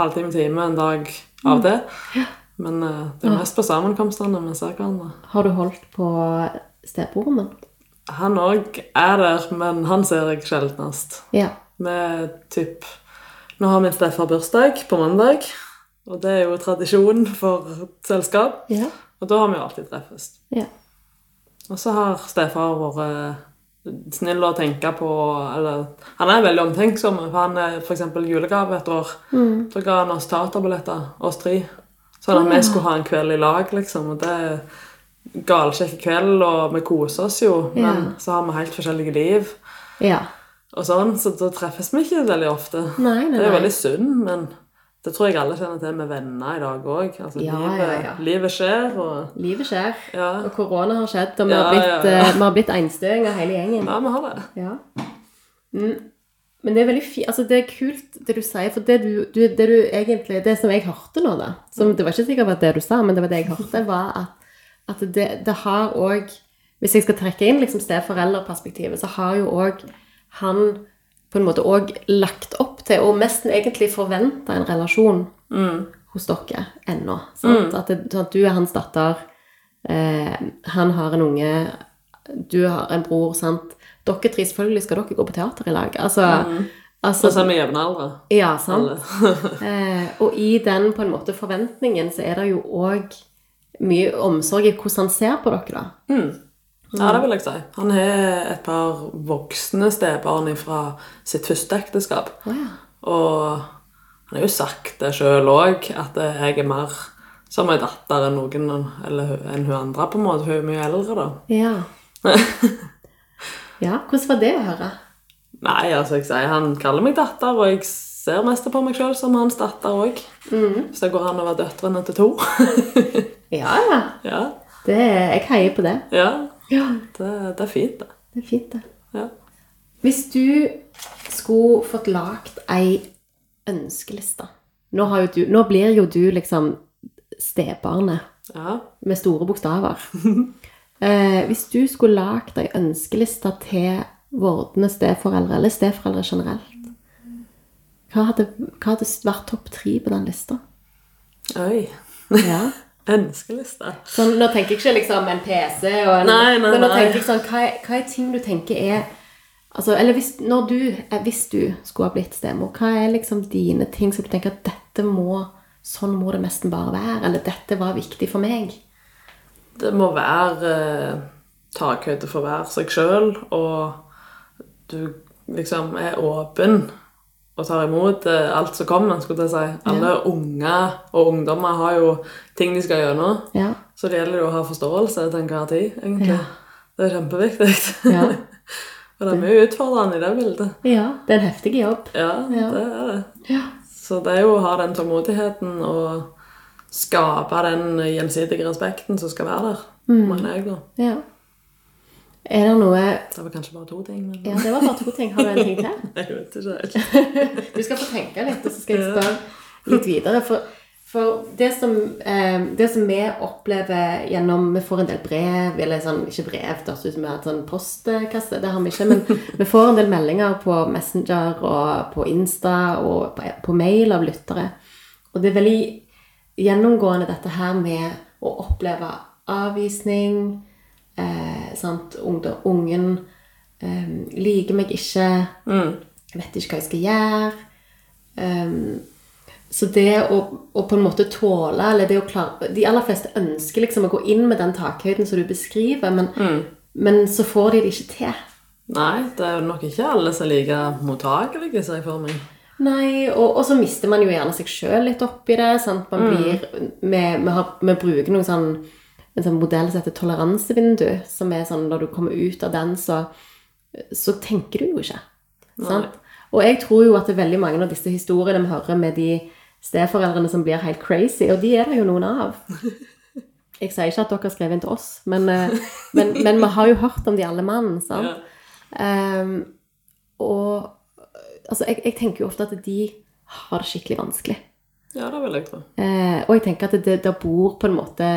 [SPEAKER 4] halvtime, time, en dag av det. Men eh, det er mest på sammenkomstene vi ser hverandre.
[SPEAKER 3] Har du holdt på stebroren din?
[SPEAKER 4] Han òg er der, men han ser jeg sjeldnest.
[SPEAKER 3] Ja.
[SPEAKER 4] Med typ Nå har min stefar bursdag på mandag, og det er jo tradisjon for et selskap.
[SPEAKER 3] Ja.
[SPEAKER 4] Og da har vi jo alltid treffes.
[SPEAKER 3] ja.
[SPEAKER 4] Og så har stefar vært eh, snill å tenke på eller, Han er veldig omtenksom. For han er for eksempel julegave et år.
[SPEAKER 3] Mm.
[SPEAKER 4] Da ga han oss teaterbilletter, oss tre. Sånn at vi skulle ha en kveld i lag, liksom. Og det er galkjekk kveld, og vi koser oss jo. Men
[SPEAKER 3] Ja.
[SPEAKER 4] så har vi helt forskjellige liv,
[SPEAKER 3] ja.
[SPEAKER 4] og sånn, så da treffes vi ikke veldig ofte.
[SPEAKER 3] Nei, nei,
[SPEAKER 4] Det er jo
[SPEAKER 3] nei.
[SPEAKER 4] veldig synd, men det tror jeg alle kjenner til med venner i dag òg. Altså,
[SPEAKER 3] Ja, ja,
[SPEAKER 4] livet,
[SPEAKER 3] ja.
[SPEAKER 4] livet skjer, og
[SPEAKER 3] Livet skjer.
[SPEAKER 4] Ja.
[SPEAKER 3] Og korona har skjedd, og vi
[SPEAKER 4] Ja,
[SPEAKER 3] har blitt,
[SPEAKER 4] ja, ja.
[SPEAKER 3] eh, vi har blitt einstøinger hele gjengen.
[SPEAKER 4] Ja, vi har det.
[SPEAKER 3] Ja. Mm. Men det er veldig fi- altså det er kult det du sier, for det du, du, det du egentlig Det som jeg hørte nå, da som Det var ikke sikkert at det du sa, men det var det jeg hørte, var at, at det, det har òg Hvis jeg skal trekke inn liksom steforeldreperspektivet, så har jo òg han på en måte òg lagt opp til, og mest egentlig forventa, en relasjon hos dere ennå. sant? At, det, sånn at du er hans datter, eh, han har en unge, du har en bror, sant? Dere tre, selvfølgelig skal dere gå på teater i lag. Altså,
[SPEAKER 4] Så
[SPEAKER 3] altså
[SPEAKER 4] ser vi jevnaldra.
[SPEAKER 3] Ja, sant?
[SPEAKER 4] Alle.
[SPEAKER 3] Eh, og i den på en måte forventningen så er det jo òg mye omsorg i hvordan han ser på dere, da.
[SPEAKER 4] Ja, det vil jeg si. Han har et par voksne stebarn fra sitt første ekteskap. Og han har jo sagt det sjøl òg, at jeg er mer som ei datter enn noen eller enn hun andre, på en måte. Hun er mye eldre, da.
[SPEAKER 3] Ja. ja. Hvordan var det å høre?
[SPEAKER 4] Nei, altså, jeg sier han kaller meg datter, og jeg ser mest på meg sjøl som hans datter òg. Hvis det går an å være døtrene til to.
[SPEAKER 3] Ja, ja.
[SPEAKER 4] ja.
[SPEAKER 3] Det, jeg heier på det.
[SPEAKER 4] ja.
[SPEAKER 3] Ja.
[SPEAKER 4] Det, det er fint, det.
[SPEAKER 3] Det er fint, det.
[SPEAKER 4] Ja.
[SPEAKER 3] Hvis du skulle fått lagt ei ønskeliste Nå, har jo du, nå blir jo du liksom stebarnet
[SPEAKER 4] ja.
[SPEAKER 3] med store bokstaver. Eh, hvis du skulle lagt ei ønskeliste til vordende steforeldre, eller steforeldre generelt, hva hadde, hva hadde vært topp tre på den lista?
[SPEAKER 4] Oi.
[SPEAKER 3] Ja.
[SPEAKER 4] Ønskeliste.
[SPEAKER 3] Sånn, nå tenker jeg ikke liksom en PC og en,
[SPEAKER 4] Nei, nei,
[SPEAKER 3] Men nå
[SPEAKER 4] nei.
[SPEAKER 3] tenker jeg sånn, hva er, hva er ting du tenker er altså, Eller hvis, når du, eh, hvis du skulle ha blitt stemor, hva er liksom dine ting som du tenker at dette må Sånn må det nesten bare være. Eller dette var viktig for meg.
[SPEAKER 4] Det må være eh, takhøyde for å være seg sjøl, og du liksom er åpen og tar imot eh, alt som kommer, skulle jeg si. Alle unger og ungdommer har jo ting de skal gjennom,
[SPEAKER 3] Ja.
[SPEAKER 4] så det gjelder jo å ha forståelse til enhver tid, egentlig.
[SPEAKER 3] Ja.
[SPEAKER 4] Det er kjempeviktig.
[SPEAKER 3] Ja.
[SPEAKER 4] og det er mye utfordrende i det bildet.
[SPEAKER 3] ja. Det er en heftig jobb.
[SPEAKER 4] Ja,
[SPEAKER 3] Ja.
[SPEAKER 4] det er det.
[SPEAKER 3] Ja.
[SPEAKER 4] Så det er jo å ha den tålmodigheten og skape den gjensidige respekten som skal være der,
[SPEAKER 3] Mm.
[SPEAKER 4] mener jeg, da.
[SPEAKER 3] ja. Er det noe
[SPEAKER 4] Det var kanskje bare to ting, men
[SPEAKER 3] Ja, det var bare to ting. Har du en ting til?
[SPEAKER 4] jeg vet ikke helt.
[SPEAKER 3] Du skal få tenke litt, og så skal jeg spørre litt videre. For, for det, som, eh, det som vi opplever gjennom Vi får en del brev, eller sånn, ikke brev, det høres ut som vi har hatt sånn postkasse, det har vi ikke, men vi får en del meldinger på Messenger og på Insta og på, på mail av lyttere. Og det er veldig gjennomgående dette her med å oppleve avvisning, eh, sant, ungdom, ungen eh, liker meg ikke, jeg vet ikke hva jeg skal gjøre. Ehm, så det å, å på en måte tåle, eller det å klare De aller fleste ønsker liksom å gå inn med den takhøyden som du beskriver, men Men så får de det ikke til.
[SPEAKER 4] Nei, det er jo nok ikke alle som er like mottakelige, ser jeg for meg.
[SPEAKER 3] Nei, og, og så mister man jo gjerne seg sjøl litt oppi det. Sant? Man blir, vi, vi, har, vi bruker noen sånn, en sånn modell som heter toleransevindu. Som er sånn når du kommer ut av den, så, så tenker du jo ikke. Sant? Og jeg tror jo at det er veldig mange av disse historiene vi hører med de steforeldrene som blir helt crazy, og de er det jo noen av. Jeg sier ikke at dere har skrevet inn til oss, men, eh, men, men vi har jo hørt om de alle mann. sant?
[SPEAKER 4] Ja.
[SPEAKER 3] Ehm, og altså, jeg, jeg tenker jo ofte at de har det skikkelig vanskelig.
[SPEAKER 4] Ja, det vil jeg tro.
[SPEAKER 3] Eh, og jeg tenker at det, det bor på en måte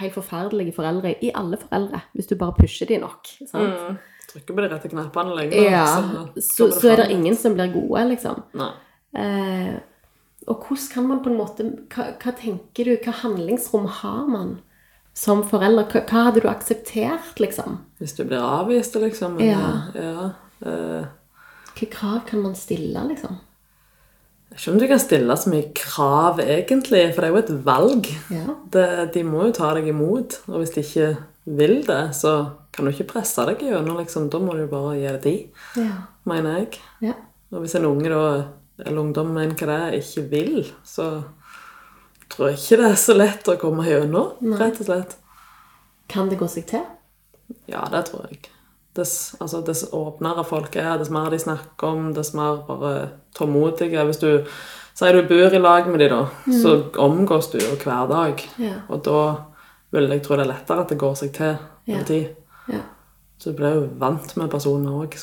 [SPEAKER 3] helt forferdelige foreldre i alle foreldre, hvis du bare pusher de nok. Sant?
[SPEAKER 4] Mm. Trykker på de rette knappene lenge.
[SPEAKER 3] Ja,
[SPEAKER 4] så sånn.
[SPEAKER 3] så,
[SPEAKER 4] kommer
[SPEAKER 3] så er det
[SPEAKER 4] fram.
[SPEAKER 3] ingen som blir gode, liksom.
[SPEAKER 4] Nei.
[SPEAKER 3] Eh, og hvordan kan man på en måte hva, hva tenker du, hva handlingsrom har man som forelder? Hva, hva hadde du akseptert, liksom?
[SPEAKER 4] Hvis du blir avvist, liksom. men,
[SPEAKER 3] Ja.
[SPEAKER 4] ja. Eh,
[SPEAKER 3] Hvilke krav kan man stille, liksom?
[SPEAKER 4] Jeg vet ikke om du kan stille så mye krav, egentlig, for det er jo et valg.
[SPEAKER 3] Ja.
[SPEAKER 4] Det, de må jo ta deg imot, og hvis de ikke vil det, så kan du ikke presse deg gjennom, liksom. Da må du jo bare gi det tid,
[SPEAKER 3] Ja.
[SPEAKER 4] mener jeg.
[SPEAKER 3] ja.
[SPEAKER 4] Og hvis en unge da, eller ungdom, men hva det er, ikke vil, så tror jeg ikke det er så lett å komme gjennom, rett og slett.
[SPEAKER 3] Kan det gå seg til?
[SPEAKER 4] Ja, det tror jeg. Dess, altså, dess åpnere folk er, dess mer de snakker om, dess mer bare tålmodige. Hvis du sier du bor i lag med de da, så omgås du jo hver dag.
[SPEAKER 3] Mm. Ja.
[SPEAKER 4] Og da vil jeg tro det er lettere at det går seg til
[SPEAKER 3] Ja.
[SPEAKER 4] over tid.
[SPEAKER 3] Ja.
[SPEAKER 4] Så du blir jo vant med personer òg,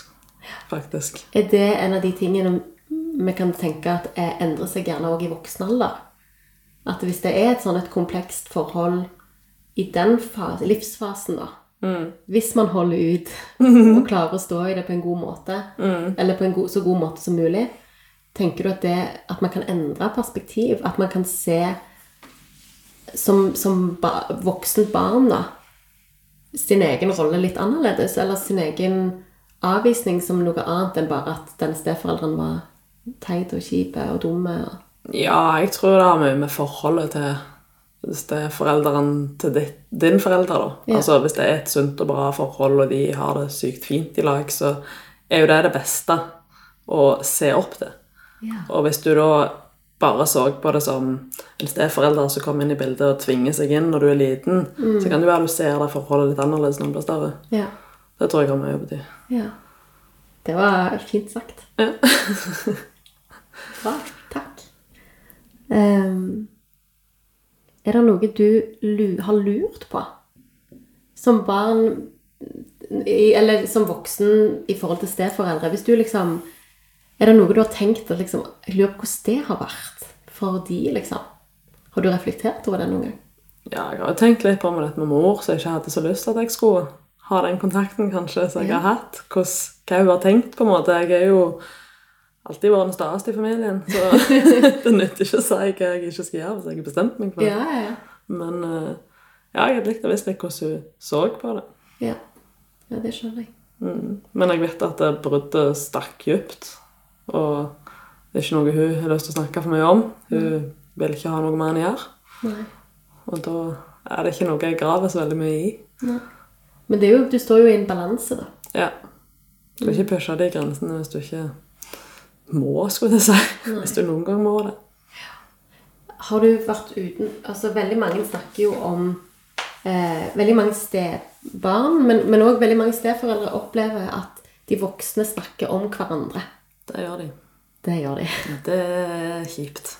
[SPEAKER 4] faktisk.
[SPEAKER 3] Er det en av de tingene vi kan tenke at eh, endrer seg gjerne også i voksen alder? At hvis det er et sånn et komplekst forhold i den fas- livsfasen, da Hvis man holder ut og klarer å stå i det på en god måte, eller på en god, så god måte som mulig, tenker du at, det, at man kan endre perspektiv? At man kan se som, som ba, voksent barn, da, sin egen rolle litt annerledes, eller sin egen avvisning som noe annet enn bare at den steforelderen var teit og kjip og dum. og-
[SPEAKER 4] Ja, jeg tror det har mye med forholdet til hvis det er forelderen til ditt, din forelder, da.
[SPEAKER 3] Ja.
[SPEAKER 4] Altså hvis det er et sunt og bra forhold, og de har det sykt fint i lag, så er jo det det beste å se opp til. Og hvis du da bare så på det som Hvis det er foreldre som kommer inn i bildet og tvinger seg inn når du er liten, så kan du analysere det forholdet litt annerledes når du blir større.
[SPEAKER 3] Ja.
[SPEAKER 4] Det tror jeg har mye å bety.
[SPEAKER 3] ja. Det var fint sagt.
[SPEAKER 4] Ja.
[SPEAKER 3] Bra. Takk. Ehm, er det noe du lu har lurt på som barn i, Eller som voksen i forhold til steforeldre? Hvis du liksom Er det noe du har tenkt at liksom, Jeg lurer på hvordan det har vært for de, liksom? Har du reflektert over det noen gang?
[SPEAKER 4] Ja, jeg har jo tenkt litt på med dette med mor, så jeg ikke hadde så lyst til at jeg skulle ha den kontakten kanskje som jeg har hatt. Hvordan, hva hun har tenkt, på en måte. Jeg er jo alltid vært den staeste i familien, så det nytter ikke å si hva jeg ikke skal gjøre hvis jeg har bestemt meg for det.
[SPEAKER 3] Ja, ja, ja.
[SPEAKER 4] Men eh, ja, jeg hadde likt å visst litt hvordan hun så på det. Mm.
[SPEAKER 3] Ja, ja det skjønner jeg.
[SPEAKER 4] Men jeg vet at det bruddet stakk dypt, og det er ikke noe hun har lyst til å snakke for mye om. Hun vil ikke ha noe mer enn gjør,
[SPEAKER 3] Nei.
[SPEAKER 4] og da er det ikke noe jeg graver så veldig mye i.
[SPEAKER 3] Men det er jo, du står jo i en balanse, da.
[SPEAKER 4] Ja. Du kan ikke pushe de grensene hvis du ikke må, skulle jeg si. Hvis du noen gang må det.
[SPEAKER 3] Har du vært uten Altså, veldig mange snakker jo om eh, Veldig mange stebarn, men, men også veldig mange steforeldre opplever at de voksne snakker om hverandre.
[SPEAKER 4] Det gjør de.
[SPEAKER 3] Det gjør de.
[SPEAKER 4] Det er kjipt.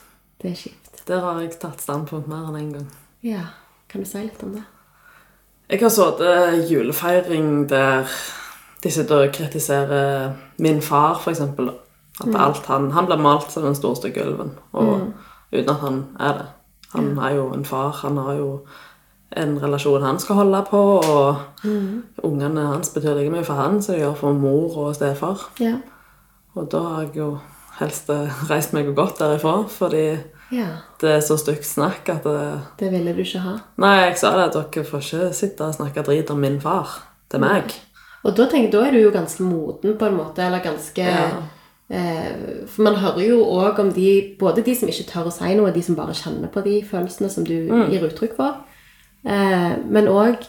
[SPEAKER 3] Det er kjipt.
[SPEAKER 4] Der har jeg tatt standpunkt mer enn én en gang.
[SPEAKER 3] Ja. Kan du si litt om det?
[SPEAKER 4] Jeg har sittet julefeiring der de sitter og kritiserer min far, for eksempel. da. At alt han, han blir malt som den store stygge ulven, og uten at han er det. Han er jo en far, han har jo en relasjon han skal holde på, og ungene hans betyr like mye for han som de gjør for mor og stefar.
[SPEAKER 3] Ja.
[SPEAKER 4] Og da har jeg jo helst eh, reist meg godt derifra, fordi
[SPEAKER 3] ja.
[SPEAKER 4] det er så stygt snakk at eh, det,
[SPEAKER 3] Det ville du ikke ha.
[SPEAKER 4] Nei, jeg sa det at dere får ikke sitte og snakke drit om min far til meg.
[SPEAKER 3] Og da, tenker, jeg, da er du jo ganske moden, på en måte, eller ganske
[SPEAKER 4] Ja.
[SPEAKER 3] eh, For man hører jo òg om de, både de som ikke tør å si noe, de som bare kjenner på de følelsene som
[SPEAKER 4] Mm.
[SPEAKER 3] du gir uttrykk for, eh, men òg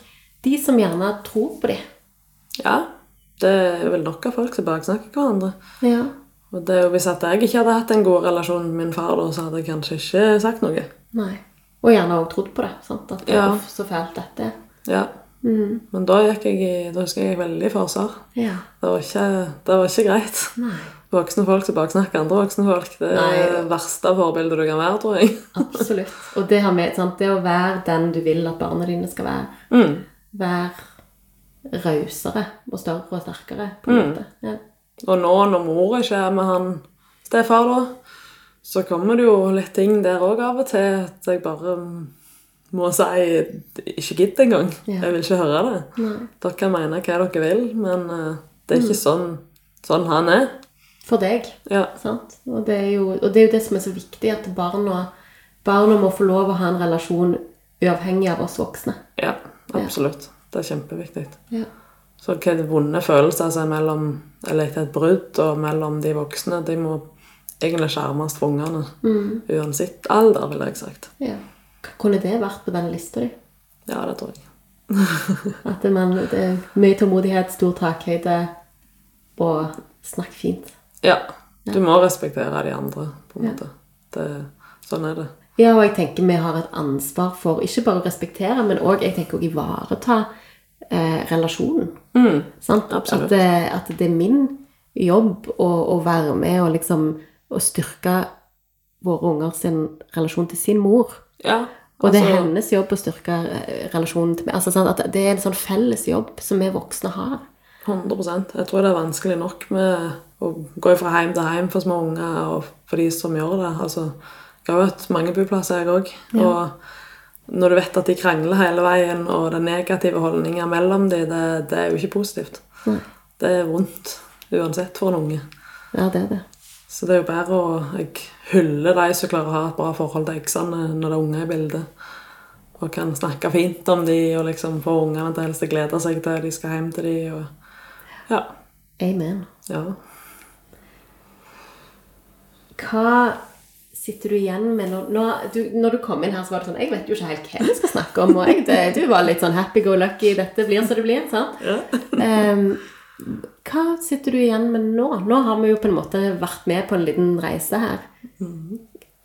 [SPEAKER 3] de som gjerne tror på de.
[SPEAKER 4] Ja, det er vel nok av folk som baksnakker hverandre.
[SPEAKER 3] Ja.
[SPEAKER 4] Og det er jo Hvis at jeg ikke hadde hatt en god relasjon med min far, da, så hadde jeg kanskje ikke sagt noe.
[SPEAKER 3] Nei. Og gjerne òg trodd på det. sant? At
[SPEAKER 4] Ja.
[SPEAKER 3] uff, så fælt dette er.
[SPEAKER 4] Ja.
[SPEAKER 3] Mm.
[SPEAKER 4] Men da, gikk jeg, i- da husker jeg jeg veldig forsvar.
[SPEAKER 3] Ja.
[SPEAKER 4] Det var ikke, det var ikke greit.
[SPEAKER 3] Nei.
[SPEAKER 4] Voksne folk som baksnakker andre voksne folk. Det er
[SPEAKER 3] Nei.
[SPEAKER 4] det verste forbildet du kan være, tror jeg.
[SPEAKER 3] Absolutt. Og det har med sant? Det å være den du vil at barna dine skal være.
[SPEAKER 4] Mm.
[SPEAKER 3] Være rausere og større og sterkere, på
[SPEAKER 4] Mm.
[SPEAKER 3] en måte. Ja.
[SPEAKER 4] Og nå når mor ikke er med han stefar, da, så kommer det jo litt ting der òg av og til at jeg bare må si ikke gidd engang.
[SPEAKER 3] Ja.
[SPEAKER 4] Jeg vil ikke høre det.
[SPEAKER 3] Nei. Mm.
[SPEAKER 4] Dere kan mene hva dere vil, men eh, det er ikke sånn, sånn han er.
[SPEAKER 3] For deg.
[SPEAKER 4] Ja.
[SPEAKER 3] Sant? Og, det er jo, og det er jo det som er så viktig, at barna, barna må få lov å ha en relasjon uavhengig av oss voksne.
[SPEAKER 4] ja, absolutt. Det er kjempeviktig.
[SPEAKER 3] Ja.
[SPEAKER 4] Så hva er det vonde følelser altså, mellom, eller etter et brudd og mellom de voksne, de må egentlig skjermes for ungene.
[SPEAKER 3] Mm.
[SPEAKER 4] Uansett alder, ville jeg sagt.
[SPEAKER 3] Hva kunne det vært på den lista di?
[SPEAKER 4] Ja, det tror jeg.
[SPEAKER 3] At det, man, det er mye tålmodighet, stor takhøyde og snakk fint.
[SPEAKER 4] Ja. Du må respektere de andre, på en
[SPEAKER 3] Ja.
[SPEAKER 4] måte. Det, sånn er det.
[SPEAKER 3] Ja, og jeg tenker vi har et ansvar for ikke bare å respektere, men òg jeg tenker å ivareta eh, relasjonen. Sant?
[SPEAKER 4] absolutt.
[SPEAKER 3] At, det, at det er min jobb å, å være med og liksom å styrke våre unger sin relasjon til sin mor.
[SPEAKER 4] Ja.
[SPEAKER 3] Og det er
[SPEAKER 4] altså,
[SPEAKER 3] hennes jobb å styrke eh, relasjonen til meg. Altså, sant? At det er en sånn felles jobb som vi voksne har.
[SPEAKER 4] 100 Jeg tror det er vanskelig nok med å gå fra hjem til hjem for små unger og for de som gjør det. Altså, jeg har vært mange boplasser, jeg òg. Og når du vet at de krangler hele veien, og det er negative holdninger mellom de, det, det er jo ikke positivt.
[SPEAKER 3] Nei.
[SPEAKER 4] Det er vondt uansett for en unge.
[SPEAKER 3] Ja, det er det.
[SPEAKER 4] Så det er jo bedre å Jeg hyller de som klarer å ha et bra forhold til eksene når det er unger i bildet. Og kan snakke fint om de og liksom få ungene til helst å glede seg til de skal hjem til de. Og, ja.
[SPEAKER 3] Amen.
[SPEAKER 4] Ja.
[SPEAKER 3] Hva sitter du igjen med når, når, du, når du kom inn her, så var det sånn Jeg vet jo ikke helt hva vi skal snakke om. Og jeg, det, du var litt sånn happy go lucky. Dette blir så det blir. sant? Ehm, hva sitter du igjen med nå? Nå har vi jo på en måte vært med på en liten reise her.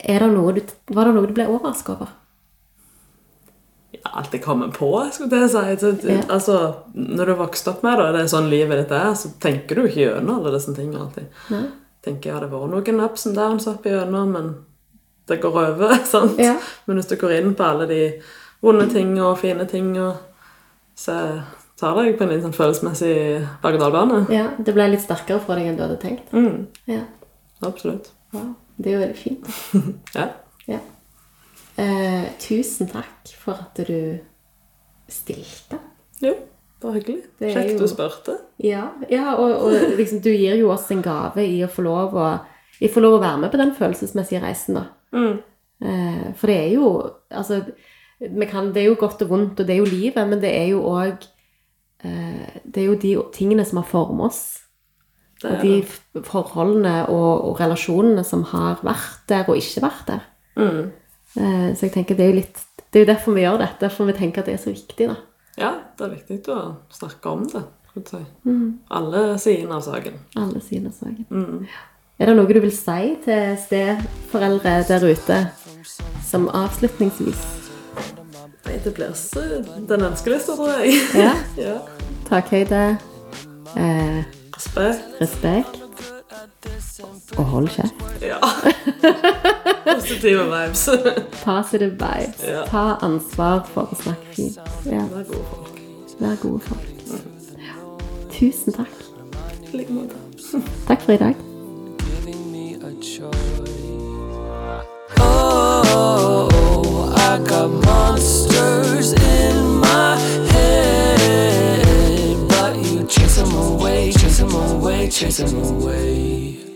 [SPEAKER 3] Er det noe du, var det noe du ble overrasket over?
[SPEAKER 4] Alt jeg kommer på, skulle jeg si. Så,
[SPEAKER 3] Ja.
[SPEAKER 4] altså, når du vokste opp med det, og det er sånn livet ditt er, så tenker du ikke gjennom alle disse tingene alltid.
[SPEAKER 3] Nei.
[SPEAKER 4] Tenker jeg, ja, det har vært noen ups and downs opp igjennom, men det går over, sant?
[SPEAKER 3] Ja.
[SPEAKER 4] Men hvis du går inn på alle de vonde tingene og fine tingene, så tar det deg på en litt sånn følelsesmessig berg-og-dal-bane.
[SPEAKER 3] Ja, Det ble litt sterkere for deg enn du hadde tenkt?
[SPEAKER 4] Mm,
[SPEAKER 3] Ja.
[SPEAKER 4] absolutt.
[SPEAKER 3] Wow. Det er jo veldig fint.
[SPEAKER 4] Ja.
[SPEAKER 3] Ja. Eh, tusen takk for at du stilte.
[SPEAKER 4] Jo, det var hyggelig.
[SPEAKER 3] Det er
[SPEAKER 4] Kjekt
[SPEAKER 3] jo-
[SPEAKER 4] du spørte.
[SPEAKER 3] Ja, ja og, og liksom, du gir jo oss en gave i å få lov å, i å, få lov å være med på den følelsesmessige reisen. da.
[SPEAKER 4] Mm.
[SPEAKER 3] Eh, for det er jo altså, vi kan, Det er jo godt og vondt, og det er jo livet, men det er jo òg eh, Det er jo de tingene som har formet oss.
[SPEAKER 4] Det
[SPEAKER 3] Og
[SPEAKER 4] er
[SPEAKER 3] de f- forholdene og, og relasjonene som har vært der og ikke vært der.
[SPEAKER 4] Mm.
[SPEAKER 3] Eh, så jeg tenker det er jo litt det er jo derfor vi gjør dette, for vi tenker at det er så viktig. da.
[SPEAKER 4] Ja, det er viktig å snakke om det. skulle jeg si. Alle sidene av saken.
[SPEAKER 3] Alle sine saker. Er det noe du vil si til steforeldre der ute som avslutningsvis?
[SPEAKER 4] Nei, det blir så- den ønskelista, tror jeg.
[SPEAKER 3] Ja.
[SPEAKER 4] ja.
[SPEAKER 3] Takhøyde, eh,
[SPEAKER 4] Respekt.
[SPEAKER 3] respekt og hold kjeft.
[SPEAKER 4] Ja. Positive vibes.
[SPEAKER 3] Positive vibes.
[SPEAKER 4] Ja.
[SPEAKER 3] Ta ansvar for å snakke fint. Ja,
[SPEAKER 4] Det er gode folk.
[SPEAKER 3] vær gode folk. Ja. Tusen takk.
[SPEAKER 4] I like måte.
[SPEAKER 3] Takk for i dag.
[SPEAKER 1] giving me a choice. Oh, I got monsters in my head, but you chase 'em away, chase 'em away, chase 'em away.